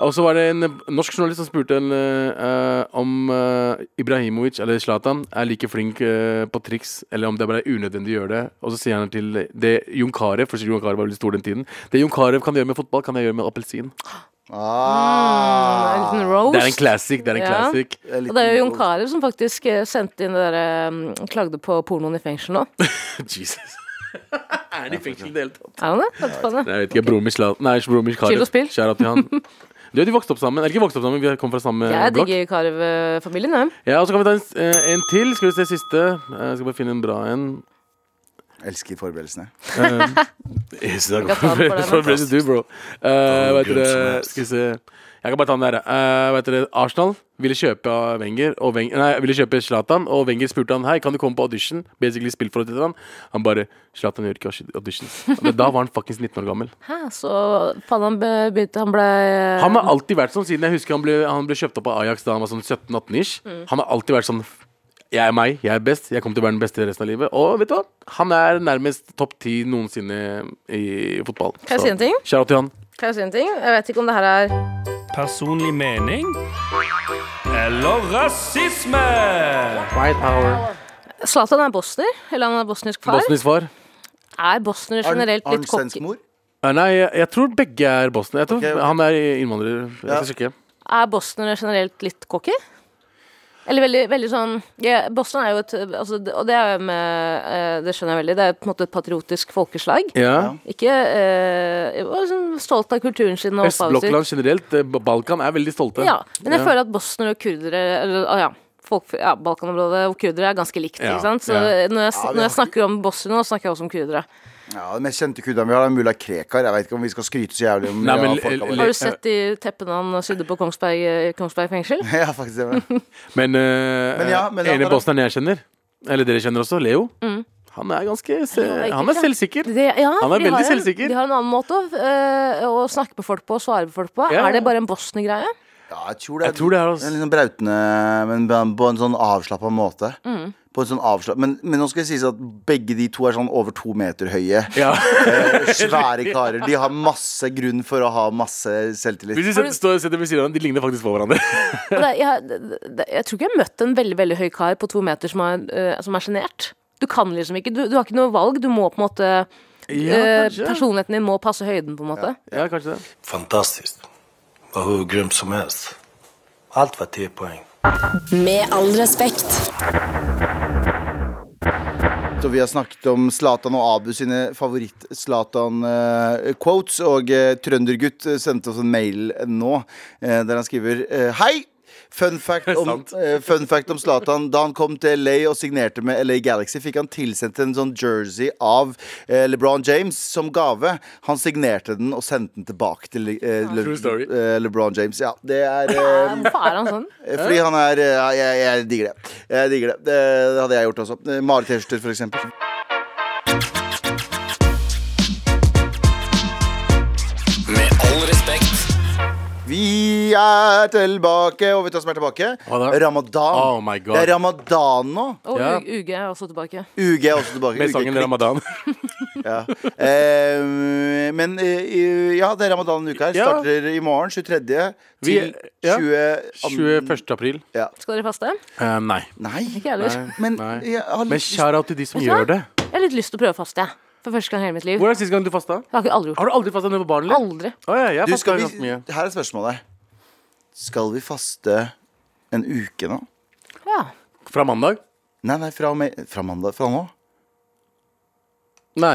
og så var det en eh, norsk journalist som spurte en, eh, om eh, Ibrahimovic eller Zlatan er like flink eh, på triks, eller om det bare er unødvendig å gjøre det. Og så sier han til det Jon Carew, for Jon Carew var veldig stor den tiden Det Jon Carew kan gjøre med fotball, kan jeg gjøre med appelsin.
Mm,
Mm, En
Ah.
liten roast.
Det er en classic. Det er en
Ja.
classic.
En
Og det er jo Jon
liten-
Carew som faktisk eh, sendte inn det der um, Klagde på pornoen i fengsel nå.
Jesus. er han i fengsel i det hele tatt?
Er han det? Vet du faen det?
Nei, Jeg vet ikke. Bror min Zlatan Nei, bror min Carew.
Chill og spill.
Shout out til han. Du vet, vi vokste opp sammen. Eller ikke vokste opp sammen, vi kom fra samme
Jeg
blokk.
digger Carew-familien, jeg.
Ja, og så kan vi ta en, eh, en til. Skal vi se siste. Jeg skal bare finne en bra en.
Elsker forberedelsene.
Yes, det
kan ta den for deg nå.
du, bro. Eh,
Ta den
vet
grunn som
dere,
helst.
skal vi se Jeg kan bare ta den der. Eh, vet dere, Arsenal ville kjøpe Wenger og Wenger, Nei, ville kjøpe Zlatan, og Wenger spurte han Hei, kan du komme på audition. Basically spill for han. Han bare Zlatan gjør ikke auditions. Men da var han fuckings 19 år gammel.
Hæ, så faen, han be- begynte Han ble eh,
Han har alltid vært sånn siden jeg husker han ble, han ble kjøpt opp av Ajax da han var sånn 17-18-ish.
Mm.
Han har alltid vært sånn Jeg er meg, jeg er best, jeg kommer til å være den beste resten av livet. Og vet du hva? Han er nærmest topp ti noensinne i fotball.
Kan jeg si en ting?
Shout out til han.
Kan jeg si en ting? Jeg vet ikke om det her er
Personlig mening eller rasisme?
Zlatan er bosner, eller han er bosnisk far.
Bosnisk far.
Er bosnere
Arn-
generelt
Arn
litt cocky?
svensk mor?
Eh, Nei, jeg, jeg tror begge er bosniere. Jeg tror
Ok, ok.
Han er innvandrer. Jeg skal sjekke.
Er bosnere generelt litt cocky? Eller veldig, veldig sånn ja, Boston er jo et altså, det- Og det er jo med eh, Det skjønner jeg veldig. Det er på en måte et patriotisk folkeslag.
Ja.
Ikke eh, og sånn stolt av kulturen sin og opphavet sitt.
Østblokkland generelt, eh, Balkan, er veldig stolte.
Ja, men jeg
Ja.
føler at bosnere og kurdere Eller ah, ja, folk fra ja, Balkanområdet og kurdere er ganske likt.
Ja,
ikke sant? Så
ja.
når, jeg, s-
Ja, vi
når jeg
har-
snakker om bosnere, nå snakker jeg også om kurdere.
Ja, Den mest kjente kurderen vi har, er mulla Krekar. Jeg vet ikke om vi skal skryte så jævlig om
Nei, men
ja, folka
l-
våre.
l-
Har du sett de teppene han sydde på Kongsberg, eh, Kongsberg fengsel?
Ja, faktisk det.
Men, eh,
Men ja, men han
ene
er-
bosnieren jeg kjenner, eller dere kjenner også, Leo, han er ganske se
Mm. er
Han er
ikke-
selvsikker.
Det, ja,
Han er
de har
veldig
en-
selvsikker.
De har en annen måte å, eh, å snakke med folk på og svare på folk på.
Ja.
Er det bare en bosner-greie?
Ja, jeg tror det er,
Jeg tror det er oss.
en litt sånn brautende, men på- på en sånn avslappa måte. På en sånn avslapp... men, men nå skal det sies at begge de to er sånn over to meter høye.
Ja.
Eh, Svære karer. De har masse grunn for å ha masse selvtillit.
Hvis vi setter, står, setter ved siden av dem, de ligner faktisk på hverandre.
Og Det, jeg, det- det, jeg tror ikke jeg har møtt en veldig veldig høy kar på to meter som er, eh, som er sjenert. Du kan liksom ikke. Du, du har ikke noe valg. Du må på en måte eh, Personligheten din må passe høyden, på en måte.
Ja, kanskje det.
Fantastiskt. Var hur grymt som helst. Allt var 10 poäng.
Med all respekt.
Og vi har snakket om Zlatan og Abu sine favoritt-Zlatan-quotes. og eh, Trøndergutt eh, sendte oss en mail nå eh, der han skriver eh, Hei! Fun fact, om,
Sant.
eh, fun fact om Zlatan. Da han kom til LA og signerte med LA Galaxy, fikk han tilsendt en sånn jersey av eh, LeBron James som gave. Han signerte den og sendte den tilbake til eh, Le
True story.
eh, LeBron James. Ja, det er eh,
Eh, Hvorfor er han sånn?
Eh, Fordi han er eh, ja, jeg, jeg digger det. Jeg digger det. det. Det hadde jeg gjort også. Eh, Male T-skjorter, for eksempel.
Med all respekt.
Vi er tilbake, og vet du hva som er tilbake?
Hva da?
Ramadan.
Oh my God.
Det er ramadan nå.
Og
Ja.
U- UG er også tilbake.
UG er også tilbake.
Med
UG
sangen
klikk,
Ramadan.
Ja. Eh, men eh, ja, det er ramadan denne uka. her.
Ja.
Starter i morgen, 23.
Vi-
til
ja.
20...
21. april.
Skal dere faste?
Eh, nei.
Nei.
Ikke heller.
Men
Nei.
jeg har
Men
lyst
shout out til de som
Vet du hva?
gjør det.
Jeg har litt lyst til å prøve å faste, jeg. For første gang i hele mitt liv.
Hvor er sist gang du fasta?
Jeg har ikke aldri gjort
Har du aldri fasta nede på baren?
det.
eller?
Aldri.
Å ja, jeg
du,
fasta
skal vi,
ganske mye.
Her er spørsmålet. Skal vi faste en uke nå?
Ja.
Fra mandag?
Nei, nei, fra, og med, fra mandag. Fra nå?
Nei.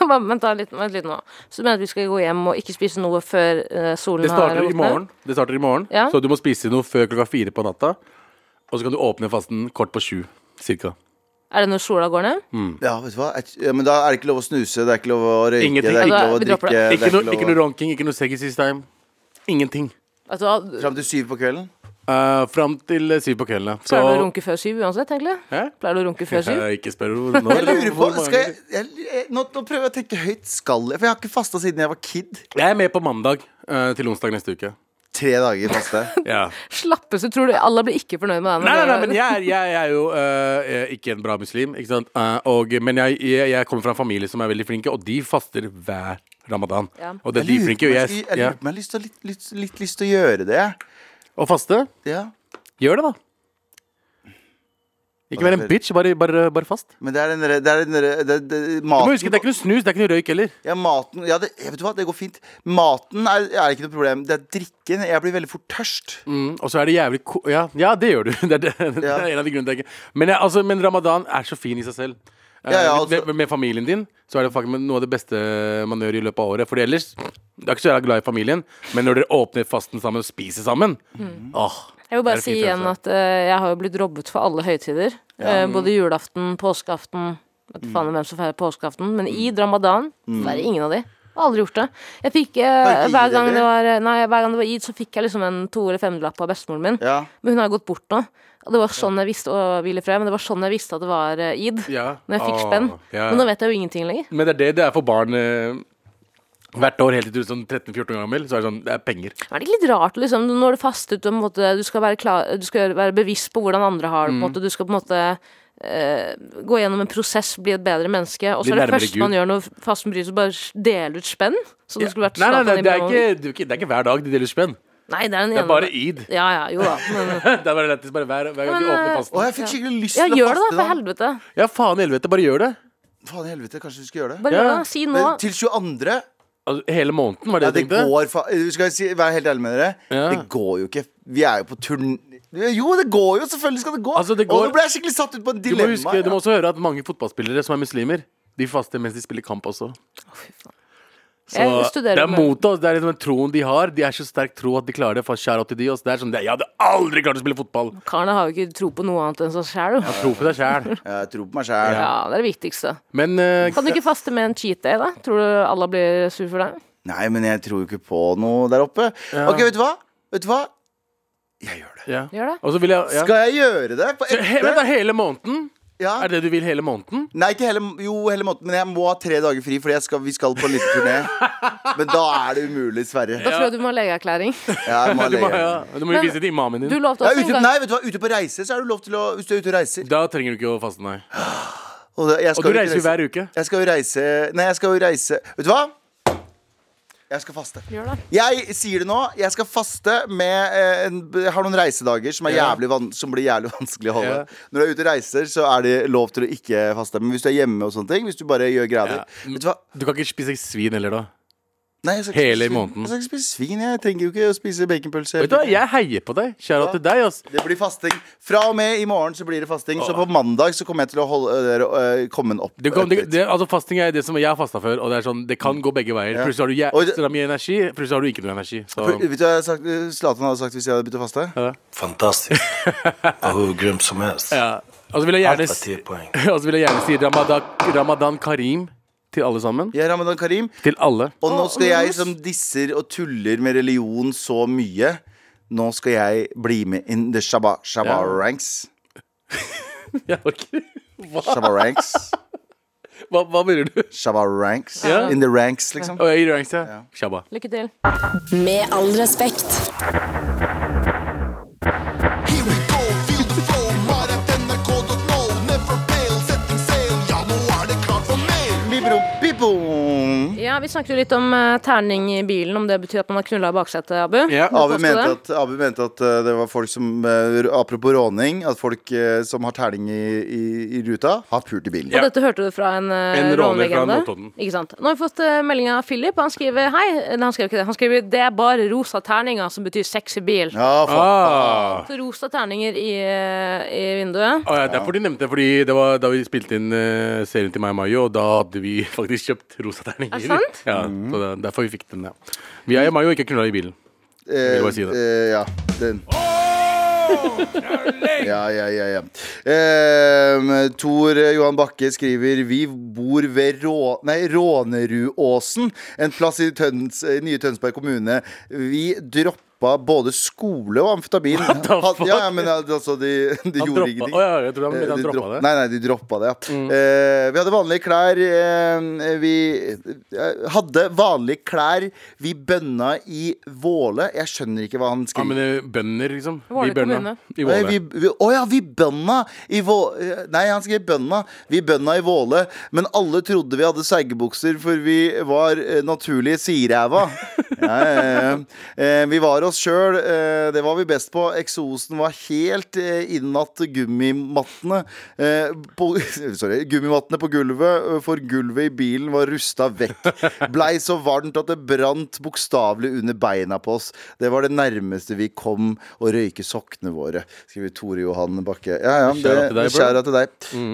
Bare Vent da, litt, vent litt nå. Så du mener at vi skal gå hjem og ikke spise noe før eh, solen
Det starter i
gått ned?
morgen. Det starter i morgen
Ja.
Så du må spise noe før klokka fire på natta. Og så kan du åpne fasten kort på sju. Cirka.
Er det når sola går ned?
Mm.
Ja, vet du hva? Et- ja, Men da er det ikke lov å snuse, det er ikke lov å røyke,
Ingenting.
det er
Ja,
ikke
da-
lov å
Altså, vi dropper
drikke det er
det.
Ikke noe,
lov
ikke
å-
noe ronking, ikke noe seggy sist time. Ingenting.
Vet du hva,
Fram til syv på kvelden?
Uh, fram til eh, syv på kvelden. ja.
Pleier du å
Så
runke før syv uansett, egentlig?
Hæ?
Pleier du å runke før syv?
Eh, Ikke spør hvor- når
Jeg lurer på,
eller hvor mange.
skal jeg, jeg, jeg nå, nå prøver jeg å tenke høyt. Skal jeg? For jeg har ikke fasta siden jeg var kid.
Jeg er med på mandag eh, til onsdag neste uke.
Tre dager faste.
Ja.
Slappeste, tror du alle blir ikke fornøyd med deg?
Nei, nei, nei, men jeg er, jeg er jo eh, eh, ikke en bra muslim, ikke sant? Eh, og, men jeg, jeg, jeg kommer fra en familie som er veldig flinke, og de faster hver ramadan.
Ja.
Og det, de
lurer på
flinke
om
og
jeg
jeg
skal- jeg
ja.
lurer på om jeg har lyst til, å- litt, litt, litt lyst til å gjøre det.
Og faste?
Ja.
Gjør det, da. Ikke vær en bitch, bare, bare, bare fast.
Men det er den derre- det er den derre- det- det-
Du må
Maten
huske, Det er ikke noe snus, det er ikke noe røyk heller.
Ja, maten ja, det, Vet du hva, det går fint. Maten er, er ikke noe problem. Det er drikken. Jeg blir veldig fort tørst.
Mm, og så er det jævlig ko ja, ja, det gjør du. Det er, det, det
Ja.
er en av de grunnene til jeg ikke men, jeg, altså, men ramadan er så fin i seg selv. Eh,
Ja, ja, altså-
med, med familien din Så er det faktisk noe av det beste man gjør i løpet av året. Fordi ellers Du er ikke så jævla glad i familien, men når dere åpner fasten sammen og spiser sammen Åh,
Mm. Jeg vil
Det er
bare si
fint,
igjen
altså.
at eh, jeg har jo blitt robbet for alle høytider. Eh, både
Mm.
julaften, påskeaften Vet faen hvem som feirer påskeaften, men i ramadan så er det ingen av de. Jeg har aldri gjort det. Jeg fikk, eh,
Har ikke
hver,
Eid,
gang det
eller?
var, eh, nei, hver gang det var id, så fikk jeg liksom en to- eller femlapp av bestemoren min.
Ja.
Men hun har jo gått bort nå. Og det var sånn jeg visste å hvile fred, men det var sånn jeg visste at det var eh, id.
Ja.
Når jeg fikk
Åh,
spenn.
ja.
Men nå vet jeg jo ingenting lenger.
Men det er det det er for barn eh, hvert år helt til du er sånn 13-14 år gammel. Så er det sånn, det er penger.
Er det ikke litt rart liksom, når du faster ut på en måte, du, skal være klar, du skal være bevisst på hvordan andre har det.
Mm.
På en måte. Du skal på en måte eh, gå gjennom en prosess, bli et bedre menneske. Og
Bli
så er det
nærmere
første
Gud.
man gjør når fasten bryter, så bare dele ut spenn. Så det skulle vært
Nei, nei, nei,
Zlatan
det er ikke,
Ibrahimovic.
det er ikke, det er ikke hver dag de deler spenn.
Nei, det er den
Det
ene.
er bare id.
Ja, ja, jo da. Men,
det er bare lettest bare hver, hver gang
Men,
vi åpner
eh,
fasten.
Å, jeg fikk skikkelig lyst
ja,
til å
gjør det, da,
faste
for
nå.
helvete.
Ja, faen i helvete, bare gjør det.
Faen i helvete, kanskje vi skal gjøre det.
Bare
Ja.
gjør det. da. Si nå.
Men til 22.
Altså, hele måneden, var det
Ja,
det
det
du tenkte?
går fa... eh, Skal jeg si, være helt ærlig med dere?
Ja.
Det går jo ikke. Vi er jo på turn... Jo, det går jo! Selvfølgelig skal det gå.
Altså, det
Og
går-
nå ble jeg skikkelig satt ut på et
Du må,
dilemma.
huske, du må også høre at mange fotballspillere som er muslimer, de faster mens de spiller kamp også. Så
Jeg studerer
det er
med-
mot oss. Det er liksom den troen de har. De er så sterk tro at de klarer det. For shout out til de også. Det er sånn, det- Jeg hadde aldri klart å spille fotball!
Karene har jo ikke tro på noe annet enn seg sjæl. jo.
Tro på deg sjæl.
Ja, jeg tror på meg sjæl.
Ja, det er det viktigste.
Men eh,
Kan du ikke faste med en cheat day, da? Tror du alle blir sur for deg?
Nei, men jeg tror jo ikke på noe der oppe. Ok, vet du hva? Vet du hva? Jeg gjør det.
ja.
Gjør det.
Og så vil jeg ja.
Skal jeg gjøre det? På
Så he, vent,
ekte?
da, hele måneden?
Ja.
Er det det du vil hele måneden?
Nei, ikke hele, jo, hele måten, men jeg må ha tre dager fri, Fordi jeg skal, vi skal på en liten turné. Men da er det umulig, dessverre.
Da tror jeg du må ha legeerklæring.
Ja, jeg må ha
Du må,
lege.
ja. du må jo vise til imamen
Du
din.
lovte
Ja,
også en
ute,
gang
nei, vet du hva, ute på reise så er du lov til å Hvis du er ute og reiser.
Da trenger du ikke å faste, nei.
Og, det- jeg skal
Og
jo ikke
du reiser
reise-
jo hver uke.
Jeg skal jo reise Nei, jeg skal jo reise Vet du hva? Jeg skal faste.
Gjør det.
Jeg sier det nå. Jeg skal faste med eh, en, Jeg har noen reisedager som, er
Ja.
jævlig van, som blir jævlig vanskelig å holde.
Ja.
Når du er ute og reiser, så er det lov til å ikke faste. Men hvis du er hjemme og sånne ting, hvis du bare gjør greier
Ja.
Vet du hva?
Du kan ikke spise svin heller, da.
Nei, jeg skal ikke
Hele
spise-
måneden.
Jeg skal ikke spise svin. Jeg trenger jo ikke å spise baconpølse.
Vet du hva, Jeg heier på deg. Kjære til deg, ass.
Det blir fasting. Fra og med i morgen så blir det fasting. Så på mandag så kommer jeg til å holde, øh, øh, komme den opp.
Det kom, det,
litt.
det, altså fasting er det som jeg har fasta før, og det er sånn, det kan gå begge
Mm.
veier.
Ja.
Plutselig har du
Og det-
jævla mye energi, plutselig har du ikke noe energi. Så.
Vet du hva jeg har sagt- øh, Zlatan hadde sagt hvis jeg hadde begynt å faste?
Fantastiskt. Och hur grym som helst.
Ja. Og så vil jeg
Allt
gjerne,
var
s-
10 poäng.
og så vil jeg gjerne si Ramadan, Ramadan Karim til alle sammen.
Jeg er Ramadan Karim.
Til alle.
Og nå skal jeg som disser og tuller med religion så mye Nå skal jeg bli med in the shabba, shabba
Ja.
ranks
Jeg orker Hva,
Shabba ranks
hva, hva mener du?
Shabba ranks
Ja.
In the ranks liksom
Å, jeg gir ranks, ja. Shabba.
Lykke til.
Med all respekt.
Here we go, feel the flow. Maratnrk.no. Never fail, setting sail. Ja, nå er det klart for mail.
Bibro, bibo
Ja, Vi snakket jo litt om eh, terning i bilen, om det betyr at man har knulla i baksetet, Abu.
Ja.
Hva
Abu
påstod
mente,
det?
at, Abu mente at eh, det var folk som eh, Apropos råning At folk eh, som har terning i, i, i ruta Har pult i bilen
Og dette hørte du fra en, eh,
En råner fra
rånelegende.
Notodden.
Ikke sant? Nå har vi fått eh, melding av Philip. Han skriver hei. Nei, han skriver ikke det. Han skriver det er bare rosa terninger som betyr sexy bil.
Ja, faen
Ah.
Så rosa terninger i, eh, i vinduet.
Å, ja, derfor de nevnte det, fordi det var da vi spilte inn eh, serien til meg og Mayo, og da hadde vi faktisk kjøpt rosa terninger.
Er det sant?
Ja, så det, derfor vi fikk den, ja. Vi er og Mayo ikke knulla i bilen. vil bare si det.
eh, Ja, den Ja, ja, ja, ja. Ehm, Tor Johan Bakke skriver Vi bor ved Rå... Nei, Rånerudåsen, en plass i Tøns, eh, nye Tønsberg kommune. Vi droppa både skole og amfetamin. Han- Ja, ja, men altså, de, de
Han
gjorde
droppa,
ingenting.
Å, ja, jeg tror han,
Eh,
han
de
droppa
dropp-
det.
Nei, nei, de droppa det, ja.
Mm.
Eh, vi hadde vanlige klær. eh, vi eh, hadde vanlige klær. Vi bønna i Våle. Jeg skjønner ikke hva han
Ja, men
skriver.
eh, bønder, liksom.
Våle
Vi bønna.
kommune.
I
Nei,
Våle.
vi, vi, å ja, vi bønna i Vå... eh, Nei, han skrev bønna. Vi bønna i Våle. Men alle trodde vi hadde seigebukser, for vi var eh, naturlige siræva. ja, ja, ja. Eh, vi var oss sjøl. Eh, det var vi best på. Eksosen var helt eh, innatt gummimattene. Eh, på, sorry. Gummimattene på gulvet, eh, for gulvet i bilen var rusta vekk. Blei så varmt at det brant bokstavelig under beina på oss. Det var det nærmeste vi kom å røyke sokkene våre, skriver Tore Johan Bakke. Ja, ja, det,
Kjære til deg, Mm. bro.
kjære til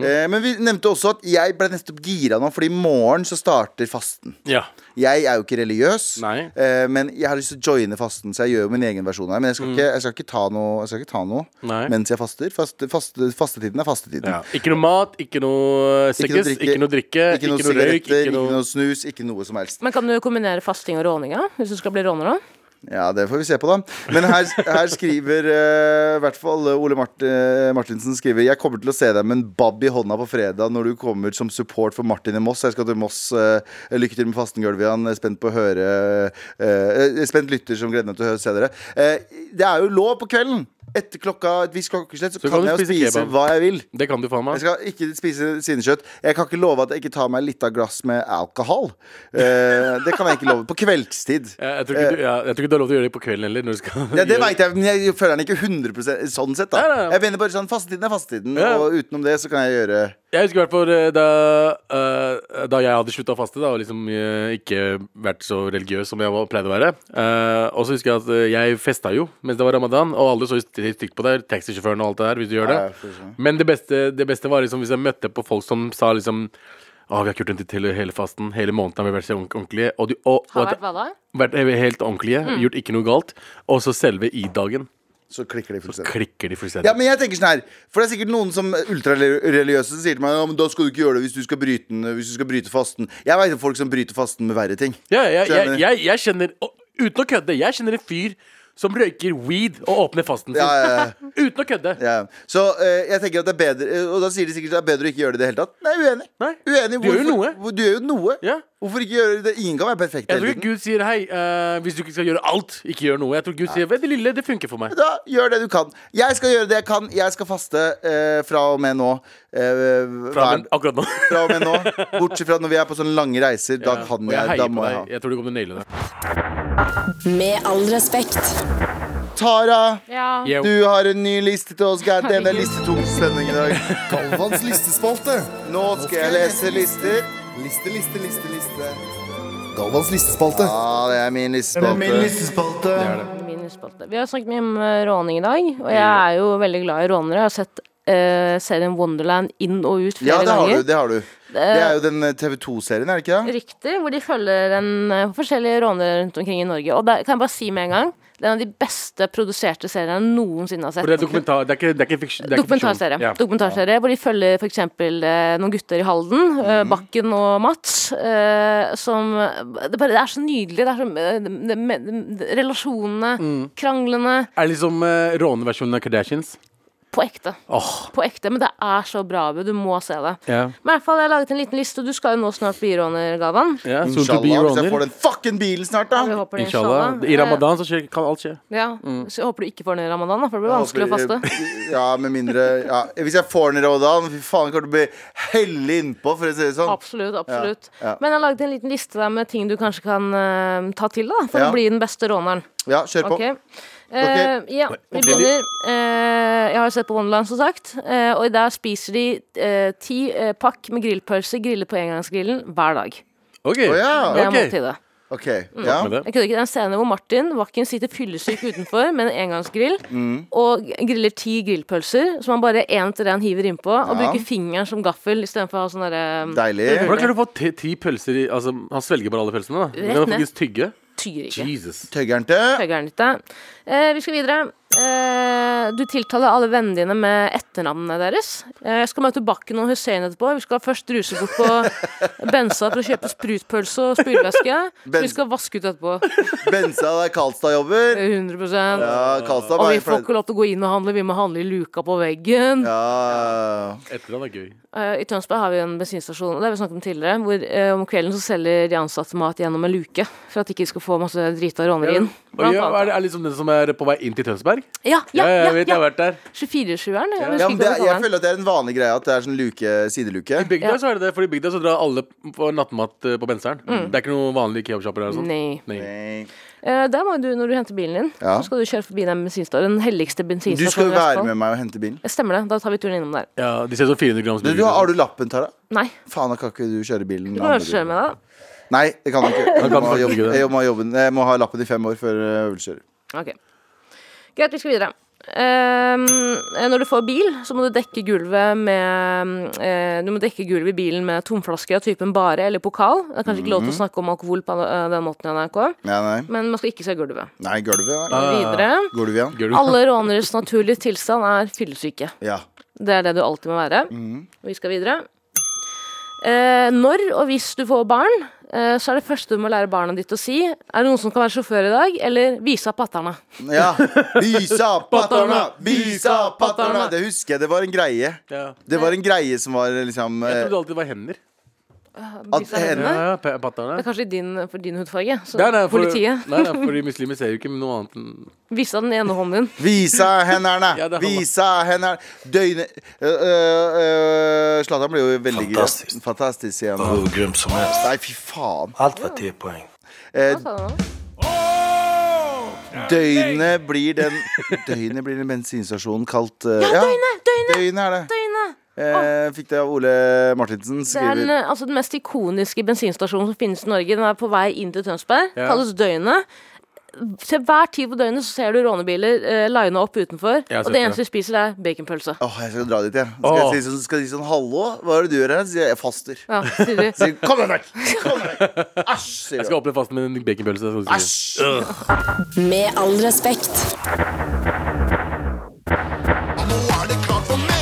deg. Eh, men vi nevnte også at jeg ble nettopp gira nå, for i morgen så starter fasten.
Ja.
Jeg er jo ikke religiøs,
Nei.
eh, men jeg har lyst til å joine fasten, så jeg gjør jo min egen versjon her, men jeg skal, ikke, jeg skal ikke ta noe, jeg skal ikke ta noe
Mm. Nei.
mens jeg faster. Faste, faste, fastetiden er fastetiden.
Ja. Ikke noe mat, ikke noe sekkes, ikke, noe drikke,
ikke noe
røyk,
sigaretter,
ikke noe,
snus, ikke noe som helst.
Men kan du kombinere fasting og råninga? Hvis du skal bli råner, da?
Ja, det får vi se på, da. Men her, her skriver eh, i hvert fall Ole Mart eh, Martinsen skriver Jeg kommer til å se deg med en bab i hånda på fredag når du kommer som support for Martin i Moss. Jeg skal til Moss. eh, lykke til med fastengulvet, Jan. Jeg er Spent på å høre eh, eh, Spent lytter som gleder meg til å høre- se dere. Eh, det er jo lov på kvelden! Etter klokka et visst klokkeslett så,
Så
kan,
kan du
jeg jo
spise
spise
kebab.
hva jeg vil.
Det kan du faen
Jeg
meg.
skal ikke spise svinekjøtt. Jeg kan ikke love at jeg ikke tar meg litt av glass med alkohol. Eh, det kan jeg ikke love. På kveldstid.
Jeg, jeg, tror ikke du, ja, jeg tror ikke du har lov til å gjøre det på kvelden heller. Når du skal
Ja, det veit jeg, men jeg føler den ikke 100 sånn sett. da
Nei, nei, nei.
Jeg mener bare sånn, Fastetiden er fastetiden,
Ja.
og utenom det så kan jeg gjøre
Jeg husker i hvert fall eh, da, eh, da jeg hadde slutta å faste, da, og liksom eh, ikke vært så religiøs som jeg var, pleide å være. Eh, og så husker jeg at eh, jeg festa jo mens det var ramadan, og alle så jo st- stygt på deg. Taxisjåføren og alt det der, hvis du gjør det.
Ja, ja, for sure.
Men det beste, det beste var liksom hvis jeg møtte på folk som sa liksom Å, vi har ikke gjort en til hele fasten. Hele måneden har vi vært så ordent- ordentlige. Og de, og, og,
Har
at-
vært Mm. hva da?
vært helt ordentlige, gjort ikke noe galt. Og så selve i-dagen
Så klikker de fullstendig.
klikker de fullstendig.
Ja, men jeg tenker sånn her For det er sikkert noen som ultrareligiøse som sier til meg Ja, men da skal du ikke gjøre det hvis du skal bryte, den, hvis du skal bryte fasten. Jeg veit om folk som bryter fasten med verre ting.
Ja, jeg, jeg,
Skjønner.
jeg, jeg kjenner og, Uten å kødde, jeg kjenner en fyr som røyker weed og åpner fasten sin.
Ja, ja, ja.
Uten å kødde.
Ja. Så eh, jeg tenker at det er bedre eh, Og da sier de sikkert at det er bedre å ikke gjøre det i det hele tatt. Nei, uenig.
Nei.
uenig.
Du gjør jo
Hvorfor-
noe.
Du gjør jo noe.
Ja.
Hvorfor ikke gjøre det? Ingen kan være perfekt.
Jeg
hele
tror
tiden.
ikke Gud sier hei, eh, hvis du ikke skal gjøre alt, ikke gjør noe. Jeg tror Gud sier «Vet du, det lille, det funker for meg.
da gjør det du kan. Jeg skal gjøre det jeg kan. Jeg skal faste eh, fra og med nå. Eh,
Fra,
hver-
men, akkurat nå.
fra og med nå. Bortsett fra når vi er på sånne lange reiser. Da kan
Og
jeg.
jeg
da
heier
må
på
jeg ha.
deg. Jeg tror du kommer til å naile det.
Med all respekt.
Tara,
Ja.
Yo.
du har en ny liste til oss. God damn, det er listetung sending i dag.
Galvans listespalte.
Nå skal jeg lese lister.
Liste, liste, liste, liste. Galvans listespalte.
Ja, det er min listespalte.
listespalte.
Min husbåte. Vi har snakket mye om eh, råning i dag, og jeg er jo veldig glad i rånere. Jeg har sett eh, serien Wonderland inn og ut
Ja,
flere
det har du.
ganger.
Det har du. Det er jo den eh, TV 2-serien, er det ikke det?
Riktig, hvor de følger en eh, forskjellige rånere rundt omkring i Norge. Og det kan jeg bare si med en gang, det er en av de beste produserte seriene jeg noensinne har sett.
For det er dokumentar, det er ikke, det er ikke fiksjon. det er ikke
Dokumentarserie.
fiksjon. Ja. Mhm.
Dokumentarserie hvor de følger f.eks. Eh, noen gutter i Halden, eh, Bakken og Mats, eh, som det, bare, det er så nydelig. Det er så, eh, det, det, det, relasjonene,
Mhm.
kranglene,
Er det liksom eh, råneversjonen av Kardashians?
på ekte.
Åh,
På ekte, Men det er så bra, Abu. Du må se det.
ja.
Men i hvert fall, Jeg har laget en liten liste, og du skal jo nå snart bli råner, Galvan.
ja. Soon to be
Inshallah, hvis jeg får
råner.
den fucking bilen snart, da.
Vi håper det,
Inshallah. I ramadan så skjer, kan alt skje.
Eh, Ja,
Mm.
Så jeg håper du ikke får den i ramadan, da, for det blir vanskelig å faste.
Ja, med mindre ja. Hvis jeg får den i Rådan, fy faen, kommer til å bli hellig innpå, for å si det sånn.
Absolutt. absolutt
Ja, ja.
Men jeg har laget en liten liste der med ting du kanskje kan eh, ta til da for
Ja.
å bli den beste råneren.
Ja, kjør på.
Ok. Eh, ja, vi begynner. Eh, jeg har jo sett på Wonderland, som sagt. eh, og der spiser de eh, ti eh, pakk med grillpølse grillet på engangsgrillen hver dag.
OK.
Å ja.
Det er
Ok.
måltidet.
Ok, ja.
Med det.
Jeg kødder ikke. Det er en scene hvor Martin Wacken sitter fyllesyk utenfor med en engangsgrill
Mm.
og griller ti grillpølser som han bare én etter én hiver innpå,
Ja.
og bruker fingeren som gaffel istedenfor å ha sånn derre
Deilig.
Hvordan klarer du å få ti, ti pølser i Altså, han svelger bare alle pølsene, da. Men han
ned.
faktisk tygge.
tyrike.
Jesus.
Tøggeren til.
Høgeren ditt, da. Eh, vi skal videre. Eh, du tiltaler alle vennene dine med etternavnene deres. Eh, jeg skal møte Bakken og Hussein etterpå. Vi skal først ruse bort på Bensa for å kjøpe sprutpølse og spylevæske.
Ben-
Vi skal vaske ut etterpå.
Bensa der Karlstad jobber.
100
Ja, Karlstad
Og
var
vi får ikke lov til å gå inn og handle, vi må handle i luka på veggen.
Ja.
Etter han er gøy.
Eh, I Tønsberg har vi en bensinstasjon, og det har vi snakket om tidligere, hvor eh, om kvelden så selger de ansatte mat gjennom en luke, for at de ikke skal få masse drita rånere inn.
Og
Blant
ja, er,
annet.
det, er det liksom den som er på vei inn til Tønsberg?
Ja, ja,
jeg
ja,
vet jeg har
ja.
vært der.
24-sjueren. jeg
ja
husker
men
ikke
det,
hva det
jeg
var.
føler at det er en vanlig greie at det er sånn luke, sideluke.
I bygda
Ja.
så er det det, for i bygda så drar alle på nattmat eh, på Benseren. Det er ikke noen vanlige kebabsjapper der og sånn.
Mm. Nei.
Nei.
Eh, der må jo du, når du henter bilen din,
Ja.
så skal du kjøre forbi den bensinstasjonen. Den helligste
Du skal
bensinstasjonen
jo
i
være
Vestfold.
med meg og hente bilen.
Eh, Stemmer det. Da tar vi turen innom der.
Ja, de ser sånn så 400 grams
Du, du, har du lappen, Tara?
Nei.
Faen, da kan ikke du kjøre bilen.
Du kan kanskje kjøre med deg, da.
Nei, det kan du ikke. Jeg
kan
må, ha
faktisk
jobb,
ikke det.
eh, jeg, må ha jobben. jeg må ha lappen i fem år før jeg vil kjøre.
Ok. Greit, vi skal videre. eh, Når du får bil, så må du dekke gulvet med eh, Du må dekke gulvet i bilen med tomflasker av typen bare eller pokal. Det er kanskje ikke lov til å snakke om alkohol på eh, den måten i NRK,
Nei, nei.
men man skal ikke se gulvet.
Nei, gulvet. nei.
Videre.
Gulvet, ja.
Gjør du
Alle råneres naturlige tilstand er fyllesyke.
ja.
Det er det du alltid må være. Vi skal videre. Eh, når og hvis du får barn, eh, så er det første du må lære barna ditt å si Er det noen som kan være sjåfør i dag, eller vise av patterna.
ja. Visa patterna! Visa patterna! Det husker jeg. Det var en greie.
Ja.
Det var en greie som var liksom
Jeg
eh,
trodde alltid det var hender.
At
Vise av
henne-
hendene.
Ja, ja, pa-
Det er
patterne.
kanskje din, for din hudfarge. Så
Nei, nei, for-
politiet.
Nei, nei, fordi muslimer ser jo ikke noe annet enn
Vise av den ene hånden din.
Visa hendene!
Ja, det holder.
Visa hendene! Døgnet eh, Zlatan ble jo veldig
Fantastisk.
Fantastisk igjen.
Hur grym som helst.
Nei, fy faen.
Allt var 10 poäng.
Eh,
Hva sa du nå?
døgnet blir den Døgnet blir den bensinstasjonen kalt eh, Ja, døgnet! Døgnet, er det.
Døgnet!
Eh, fikk det av Ole Martinsen.
Det er den,
Skriver
eh, altså, den mest ikoniske bensinstasjonen som finnes i Norge. Den er på vei inn til Tønsberg.
Ja.
Kalles Døgnet. Til hver tid på døgnet så ser du rånebiler eh, line opp utenfor,
Jeg har
og
sett
det
det.
eneste de spiser, er baconpølse.
Åh, jeg skal dra dit, jeg. Skal jeg
Åh.
si sånn, skal jeg si sånn hallo? Hva er det du gjør her? Sier jeg, jeg faster.
Ja, sier de.
Sier, Kom deg vekk! Kom deg vekk! Æsj!
Jeg
sier
skal
du.
åpne fast med en baconpølse. sånn å si.
Æsj!
Med all respekt.
Nå er det klart for mer.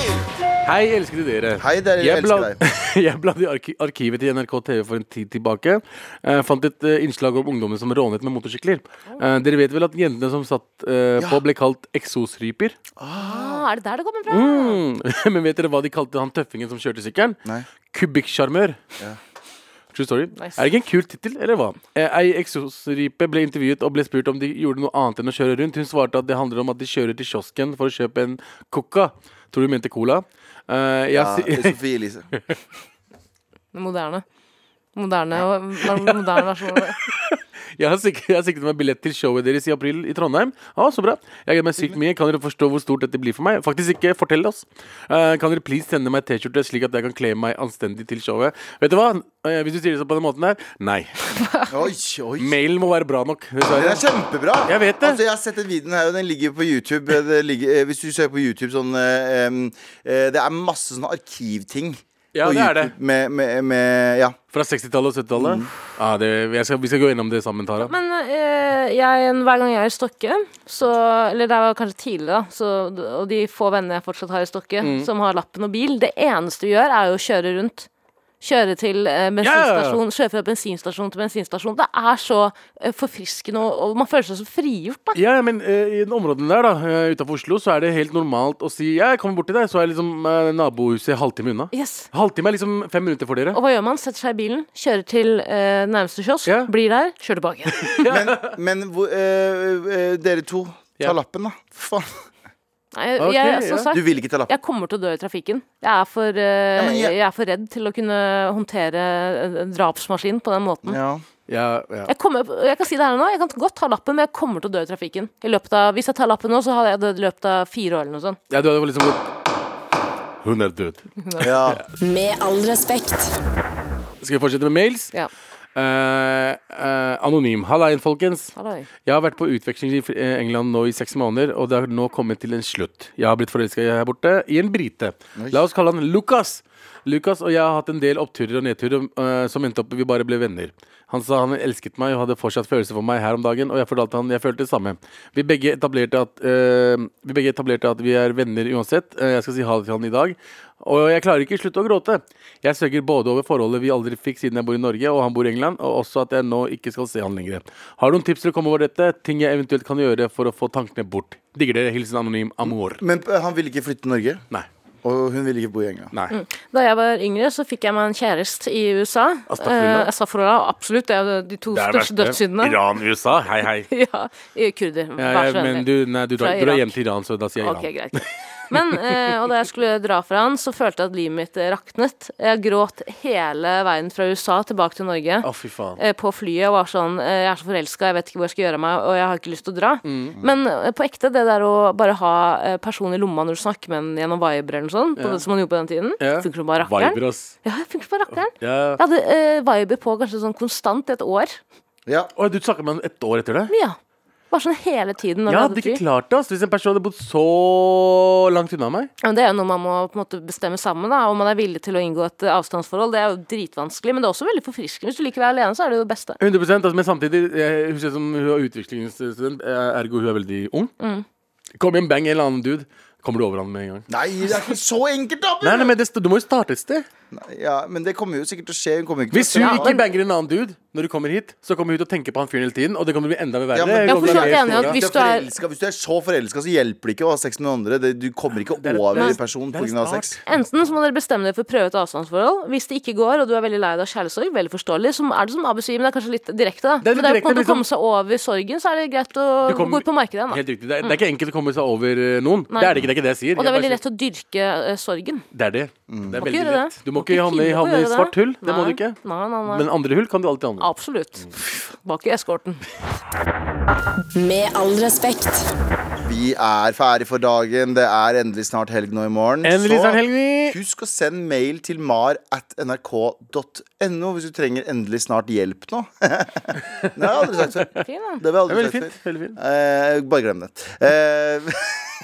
Hei, elskede dere.
Hei, dere, jeg
Jeg
elsker
bla-
deg.
jeg bladde i arki arkivet til NRK TV for en tid tilbake. Eh, fant et eh, innslag om ungdommene som rånet med motorsykler. Eh, dere vet vel at jentene som satt eh, på, ble kalt eksosryper?
Ah, er det der det kommer fra?
Mm. Men vet dere hva de kalte han tøffingen som kjørte sykkelen?
Nei.
Kubikksjarmør. True story.
Nice.
Er det ikke en kul tittel, eller hva? Eh, Ei eksosrype ble intervjuet og ble spurt om de gjorde noe annet enn å kjøre rundt. Hun svarte at det handler om at de kjører til kiosken for å kjøpe en coca. Tror du mente cola? Eh, jeg,
Ja,
si-
Sofie Elise. Mm.
Moderne. Moderne, moderne versjon.
jeg, har sikret, jeg har sikret meg billett til showet deres i april i Trondheim. Ja, så bra. Jeg gleder meg sykt mye. Kan dere forstå hvor stort dette blir for meg? Faktisk ikke. Fortell oss. Eh, kan dere please sende meg T-skjorte, slik at jeg kan kle meg anstendig til showet? Vet du hva? Eh, hvis du sier det sånn på den måten her nei.
Oi, oi.
Mailen må være bra nok.
Den
Dessverre.
er kjempebra!
Jeg vet det.
Altså, jeg har sett den videoen her, og den ligger på YouTube. Det ligger, eh, hvis du søker på YouTube sånn eh, em, eh, Det er masse sånne arkivting.
Ja,
på
det er
YouTube
det.
Med, med, med Ja.
Fra 60-tallet og 70-tallet. Ja, det- jeg skal- vi skal gå innom det sammen, Tara.
Men eh, jeg, hver gang jeg er i Stokke, så Eller det var kanskje tidligere, da. Så, og de få vennene jeg fortsatt har i Stokke,
Mm.
som har lappen og bil, det eneste vi gjør, er jo å kjøre rundt. Kjøre til eh, bensinstasjon, kjøre fra bensinstasjon til bensinstasjon. Det er så eh, forfriskende, og, og man føler seg så frigjort, da.
Ja, men eh, i den områden der, da, eh, utenfor Oslo, så er det helt normalt å si Ja, jeg kommer bort til deg, så er liksom eh, nabohuset halvtime unna.
Yes.
Halvtime er liksom fem minutter for dere.
Og hva gjør man? Setter seg i bilen, kjører til eh, nærmeste kiosk,
Ja.
blir der, kjører tilbake. igjen.
Men, men hvor- eh, eh, dere to, ta
Ja.
lappen, da. Faen.
Nei,
Ok,
jeg, som
ja.
sagt,
Du vil ikke ta lappen.
Jeg kommer til å dø i trafikken. Jeg er for, eh,
Ja, men jeg-
jeg... er for redd til å kunne håndtere eh, drapsmaskin på den måten.
Ja.
Ja, ja.
Jeg, kommer, jeg kan si det her nå, jeg kan godt ta lappen, men jeg kommer til å dø i trafikken. I løpet av, hvis jeg tar lappen nå, så hadde jeg dødd i løpet av fire år eller noe sånt.
ja, du hadde sånn- liksom gått Hun er død.
ja.
Med all respekt.
Skal vi fortsette med mails?
Ja.
Eh, eh, anonym. Hallaien, folkens.
Halloi.
Jeg har vært på utveksling i Fr- eh, England nå i seks måneder, og det har nå kommet til en slutt. Jeg har blitt forelska her borte i en brite. La oss kalle han Lucas. Lucas og jeg har hatt en del oppturer og nedturer eh, som endte opp med vi bare ble venner. Han sa han elsket meg og hadde fortsatt følelser for meg her om dagen, og jeg fortalte han jeg følte det samme. Vi begge etablerte at, eh, vi, begge etablerte at vi er venner uansett. Eh, jeg skal si ha det til han i dag. Og jeg klarer ikke slutte å gråte. Jeg sørger både over forholdet vi aldri fikk siden jeg bor i Norge, og han bor i England, og også at jeg nå ikke skal se han lenger. Har du noen tips til å komme over dette? Ting jeg eventuelt kan gjøre for å få tankene bort? Digger dere. Hilsen anonym Amor.
Men eh, han ville ikke flytte til Norge,
Nei.
og hun ville ikke bo i England.
Nei.
Da jeg var yngre, så fikk jeg meg en kjæreste i USA.
Astafrullah.
Eh, Astafrullah, absolutt. Det er jo de to største dødssyndene.
Iran, USA. Hei, hei.
Ja, i kurder.
Ja,
Vær
ja,
så
men
vennlig.
du, nei, du,
Fra
drar, du drar
Irak.
hjem til Iran, så da sier jeg Iran.
Ok, greit. Men, eh, og da jeg skulle dra fra han, så følte jeg at livet mitt eh, raknet. Jeg gråt hele veien fra USA tilbake til Norge.
Å, fy faen.
eh, På flyet og var sånn eh, Jeg er så forelska, jeg vet ikke hvor jeg skal gjøre av meg, og jeg har ikke lyst til å dra.
Mm.
Men eh, på ekte, det der å bare ha eh, personen i lomma når du snakker med en gjennom Viber eller noe sånt, på
Ja.
det som man gjorde på den tiden,
Ja.
funker som bare rakkeren.
Viber, ass.
Ja, det funker som bare rakkeren.
Ja.
Jeg hadde eh, Viber på kanskje sånn konstant i et år.
Ja.
Å, du snakker med han ett år etter det?
Ja. Bare sånn hele tiden når
Jeg
vi
hadde
hadde
ikke
fri.
klart det ass, hvis en person hadde bodd så langt unna meg.
Ja, men det er jo noe man må på en måte bestemme sammen, da, om man er villig til å inngå et eh, avstandsforhold. Det er jo dritvanskelig, men det er også veldig forfriskende. Hvis du liker å være alene, så er det jo det beste.
100 altså, Men samtidig, jeg, hun ser ut som hun er utviklingsstudent, eh, ergo hun er veldig ung.
Mm.
Kom hjem, bang en eller annen dude. Kommer du over han med en gang?
Nei, det er ikke så enkelt, da!
Nei, nei, men det, st- Du må jo starte et sted.
Nei, ja, men det kommer jo sikkert til å skje. Hun kommer ikke til å
Hvis hun
stemme.
ikke banger en annen dude når du kommer hit, så kommer hun til å tenke på han fyren hele tiden, og det kommer til å bli enda verre.
Ja, men-
Det
Ja,
kommer
for
til å bli
så er jeg
helt
enig i at
stor, ja.
Du
hvis
er
du er-
forelska. Hvis du er så forelska, så hjelper det ikke å ha sex med noen andre. Det, du kommer ikke
er et-
over
Nei,
en person
det er et
pga.
rart.
sex.
Enten så må dere bestemme dere for å prøve et avstandsforhold. Hvis det ikke går, og du er veldig lei deg av kjærlighetssorg, veldig forståelig, så er det som Abu sier, men det er kanskje litt direkte, da.
Det er litt
Men det er på en
direkte, liksom.
måte å komme seg over sorgen, så er det greit å
Du kommer-
gå ut på markedet igjen, da.
Helt riktig. Det er, det er ikke enkelt å komme seg over eh, noen. Det er det ikke. Det er ikke det jeg sier.
Mm. Og det er
Jeg
veldig
bare
lett å dyrke eh, sorgen.
sier- Det er det.
Mm.
Det er
Må ikke
veldig
gjøre
lett.
det.
Du må ikke havne i,
finne på å
havne i
gjøre det.
svart hull. Det må du
Nei.
ikke.
Nei, nei, nei.
Men andre hull kan du alltid havne i.
Absolutt. Bak i eskorten.
Med all respekt.
Vi er ferdig for dagen. Det er endelig snart helg nå i morgen.
Endelig
Så
snart helg!
Husk å sende mail til mar at nrk.no hvis du trenger endelig snart hjelp nå. Nei, det har jeg aldri sagt før.
Fin, da.
Det har jeg
Det er
aldri
veldig
sagt
fint.
før.
Veldig fint.
Eh, bare glem det. Eh,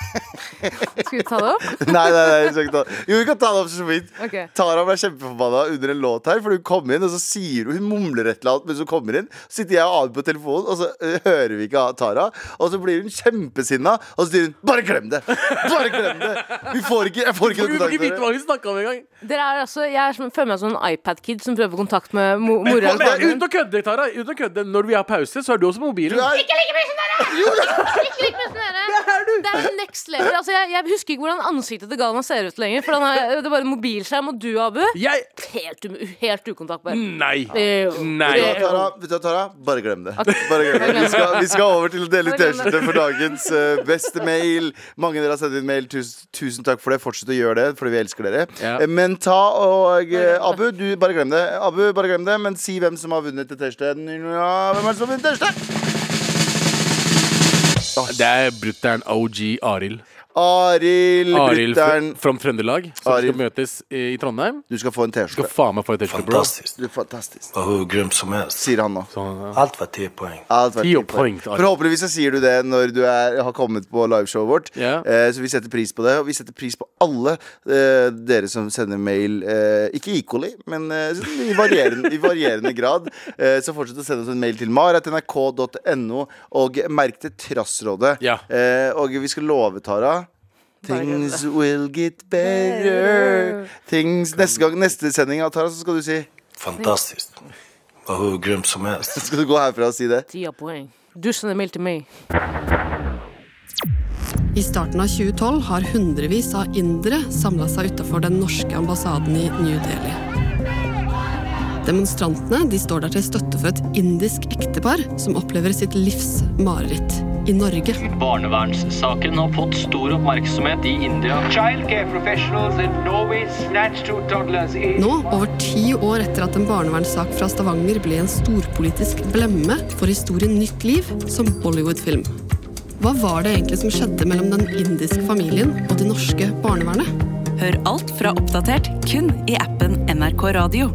Skal vi ta det opp?
nei, nei, nei, vi skal ikke ta det. Jo, vi kan ta det opp så vidt.
Ok.
Tara ble kjempeforbanna under en låt her, for hun kom inn, og så sier hun Hun mumler et eller annet mens hun kommer inn. Så sitter jeg og Abu på telefonen, og så eh, hører vi ikke av Tara. Og så blir hun kjempesinna, og så sier hun 'bare glem det'. Bare glem det. Vi får ikke, jeg får ikke noe
Du får
kontakt
ikke
med
vite
dere.
hva vi snakka om engang!
Dere er altså, jeg er, som- føler meg som en iPad-kid som prøver å få kontakt med mo mora. og faren min.
Uten å kødde, Tara. Uten å kødde. Når vi har pause, så er du også på mobilen.
Nei,
Ikke like mye som dere! Ikke like mye som dere. Det er next level. Altså, jeg, jeg husker ikke hvordan ansiktet til Galvan ser ut lenger. For han har, det er bare mobilskjerm, og du, Abu
Jeg
Helt, um- helt ukontaktbar.
Nei.
Eh,
Nei.
Vet du hva, Tara? Vet du hva, Tara? Bare glem det. Bare glem det. Vi, skal, vi skal over til å dele ut
Bare glem det.
T-skjorte for dagens eh, beste mail. Mange av dere har sendt inn mail. Tusen, tusen takk for det. Fortsett å gjøre det, fordi vi elsker dere.
Ja.
Eh, Men ta og eh, Abu, du bare glem det. Abu, bare glem det, men si hvem som har vunnet det T-skjorte. Ja, hvem er det som har vunnet T-skjorte?
Det er brutter'n OG Arild.
Arild
Arild
Brytteren.
fra Trøndelag, som
Arild.
skal møtes i i Trondheim.
Du skal få en
Skal
T-skjorte.
faen meg få et t-skjorte, bro.
Fantastiskt.
Du er fantastisk,
Och hur grym som helst.
sier han nå.
Allt var 10 poäng.
Alt vært
Ti
fint.
poeng, Arild.
Forhåpentligvis så sier du det når du er, har kommet på liveshowet vårt.
Ja.
Eh, så vi setter pris på det. Og vi setter pris på alle eh, dere som sender mail. Eh, ikke equally, men eh, sånn i, varierende, i varierende grad. Eh, så fortsett å sende oss en mail til mar.nrk.no, og merk til Trassrådet.
Ja.
Eh, og vi skal love, Tara Things will get better. Things, neste, gang, neste sending av Tara, så skal du si
Fantastiskt. Och hur grym som helst.
Skal du gå herfra og si det?
Ti av poeng. Du sender mail til meg.
I starten av 2012 har hundrevis av indere samla seg utafor den norske ambassaden i New Delhi. Demonstrantene de står der til støtte for et indisk ektepar som opplever sitt livs mareritt i Norge.
Barnevernssaken har fått stor oppmerksomhet i India.
Nå, over ti år etter at en barnevernssak fra Stavanger ble en storpolitisk blemme, får historien nytt liv som Bollywood-film. Hva var det egentlig som skjedde mellom den indiske familien og det norske barnevernet?
Hør alt fra oppdatert kun i appen NRK Radio.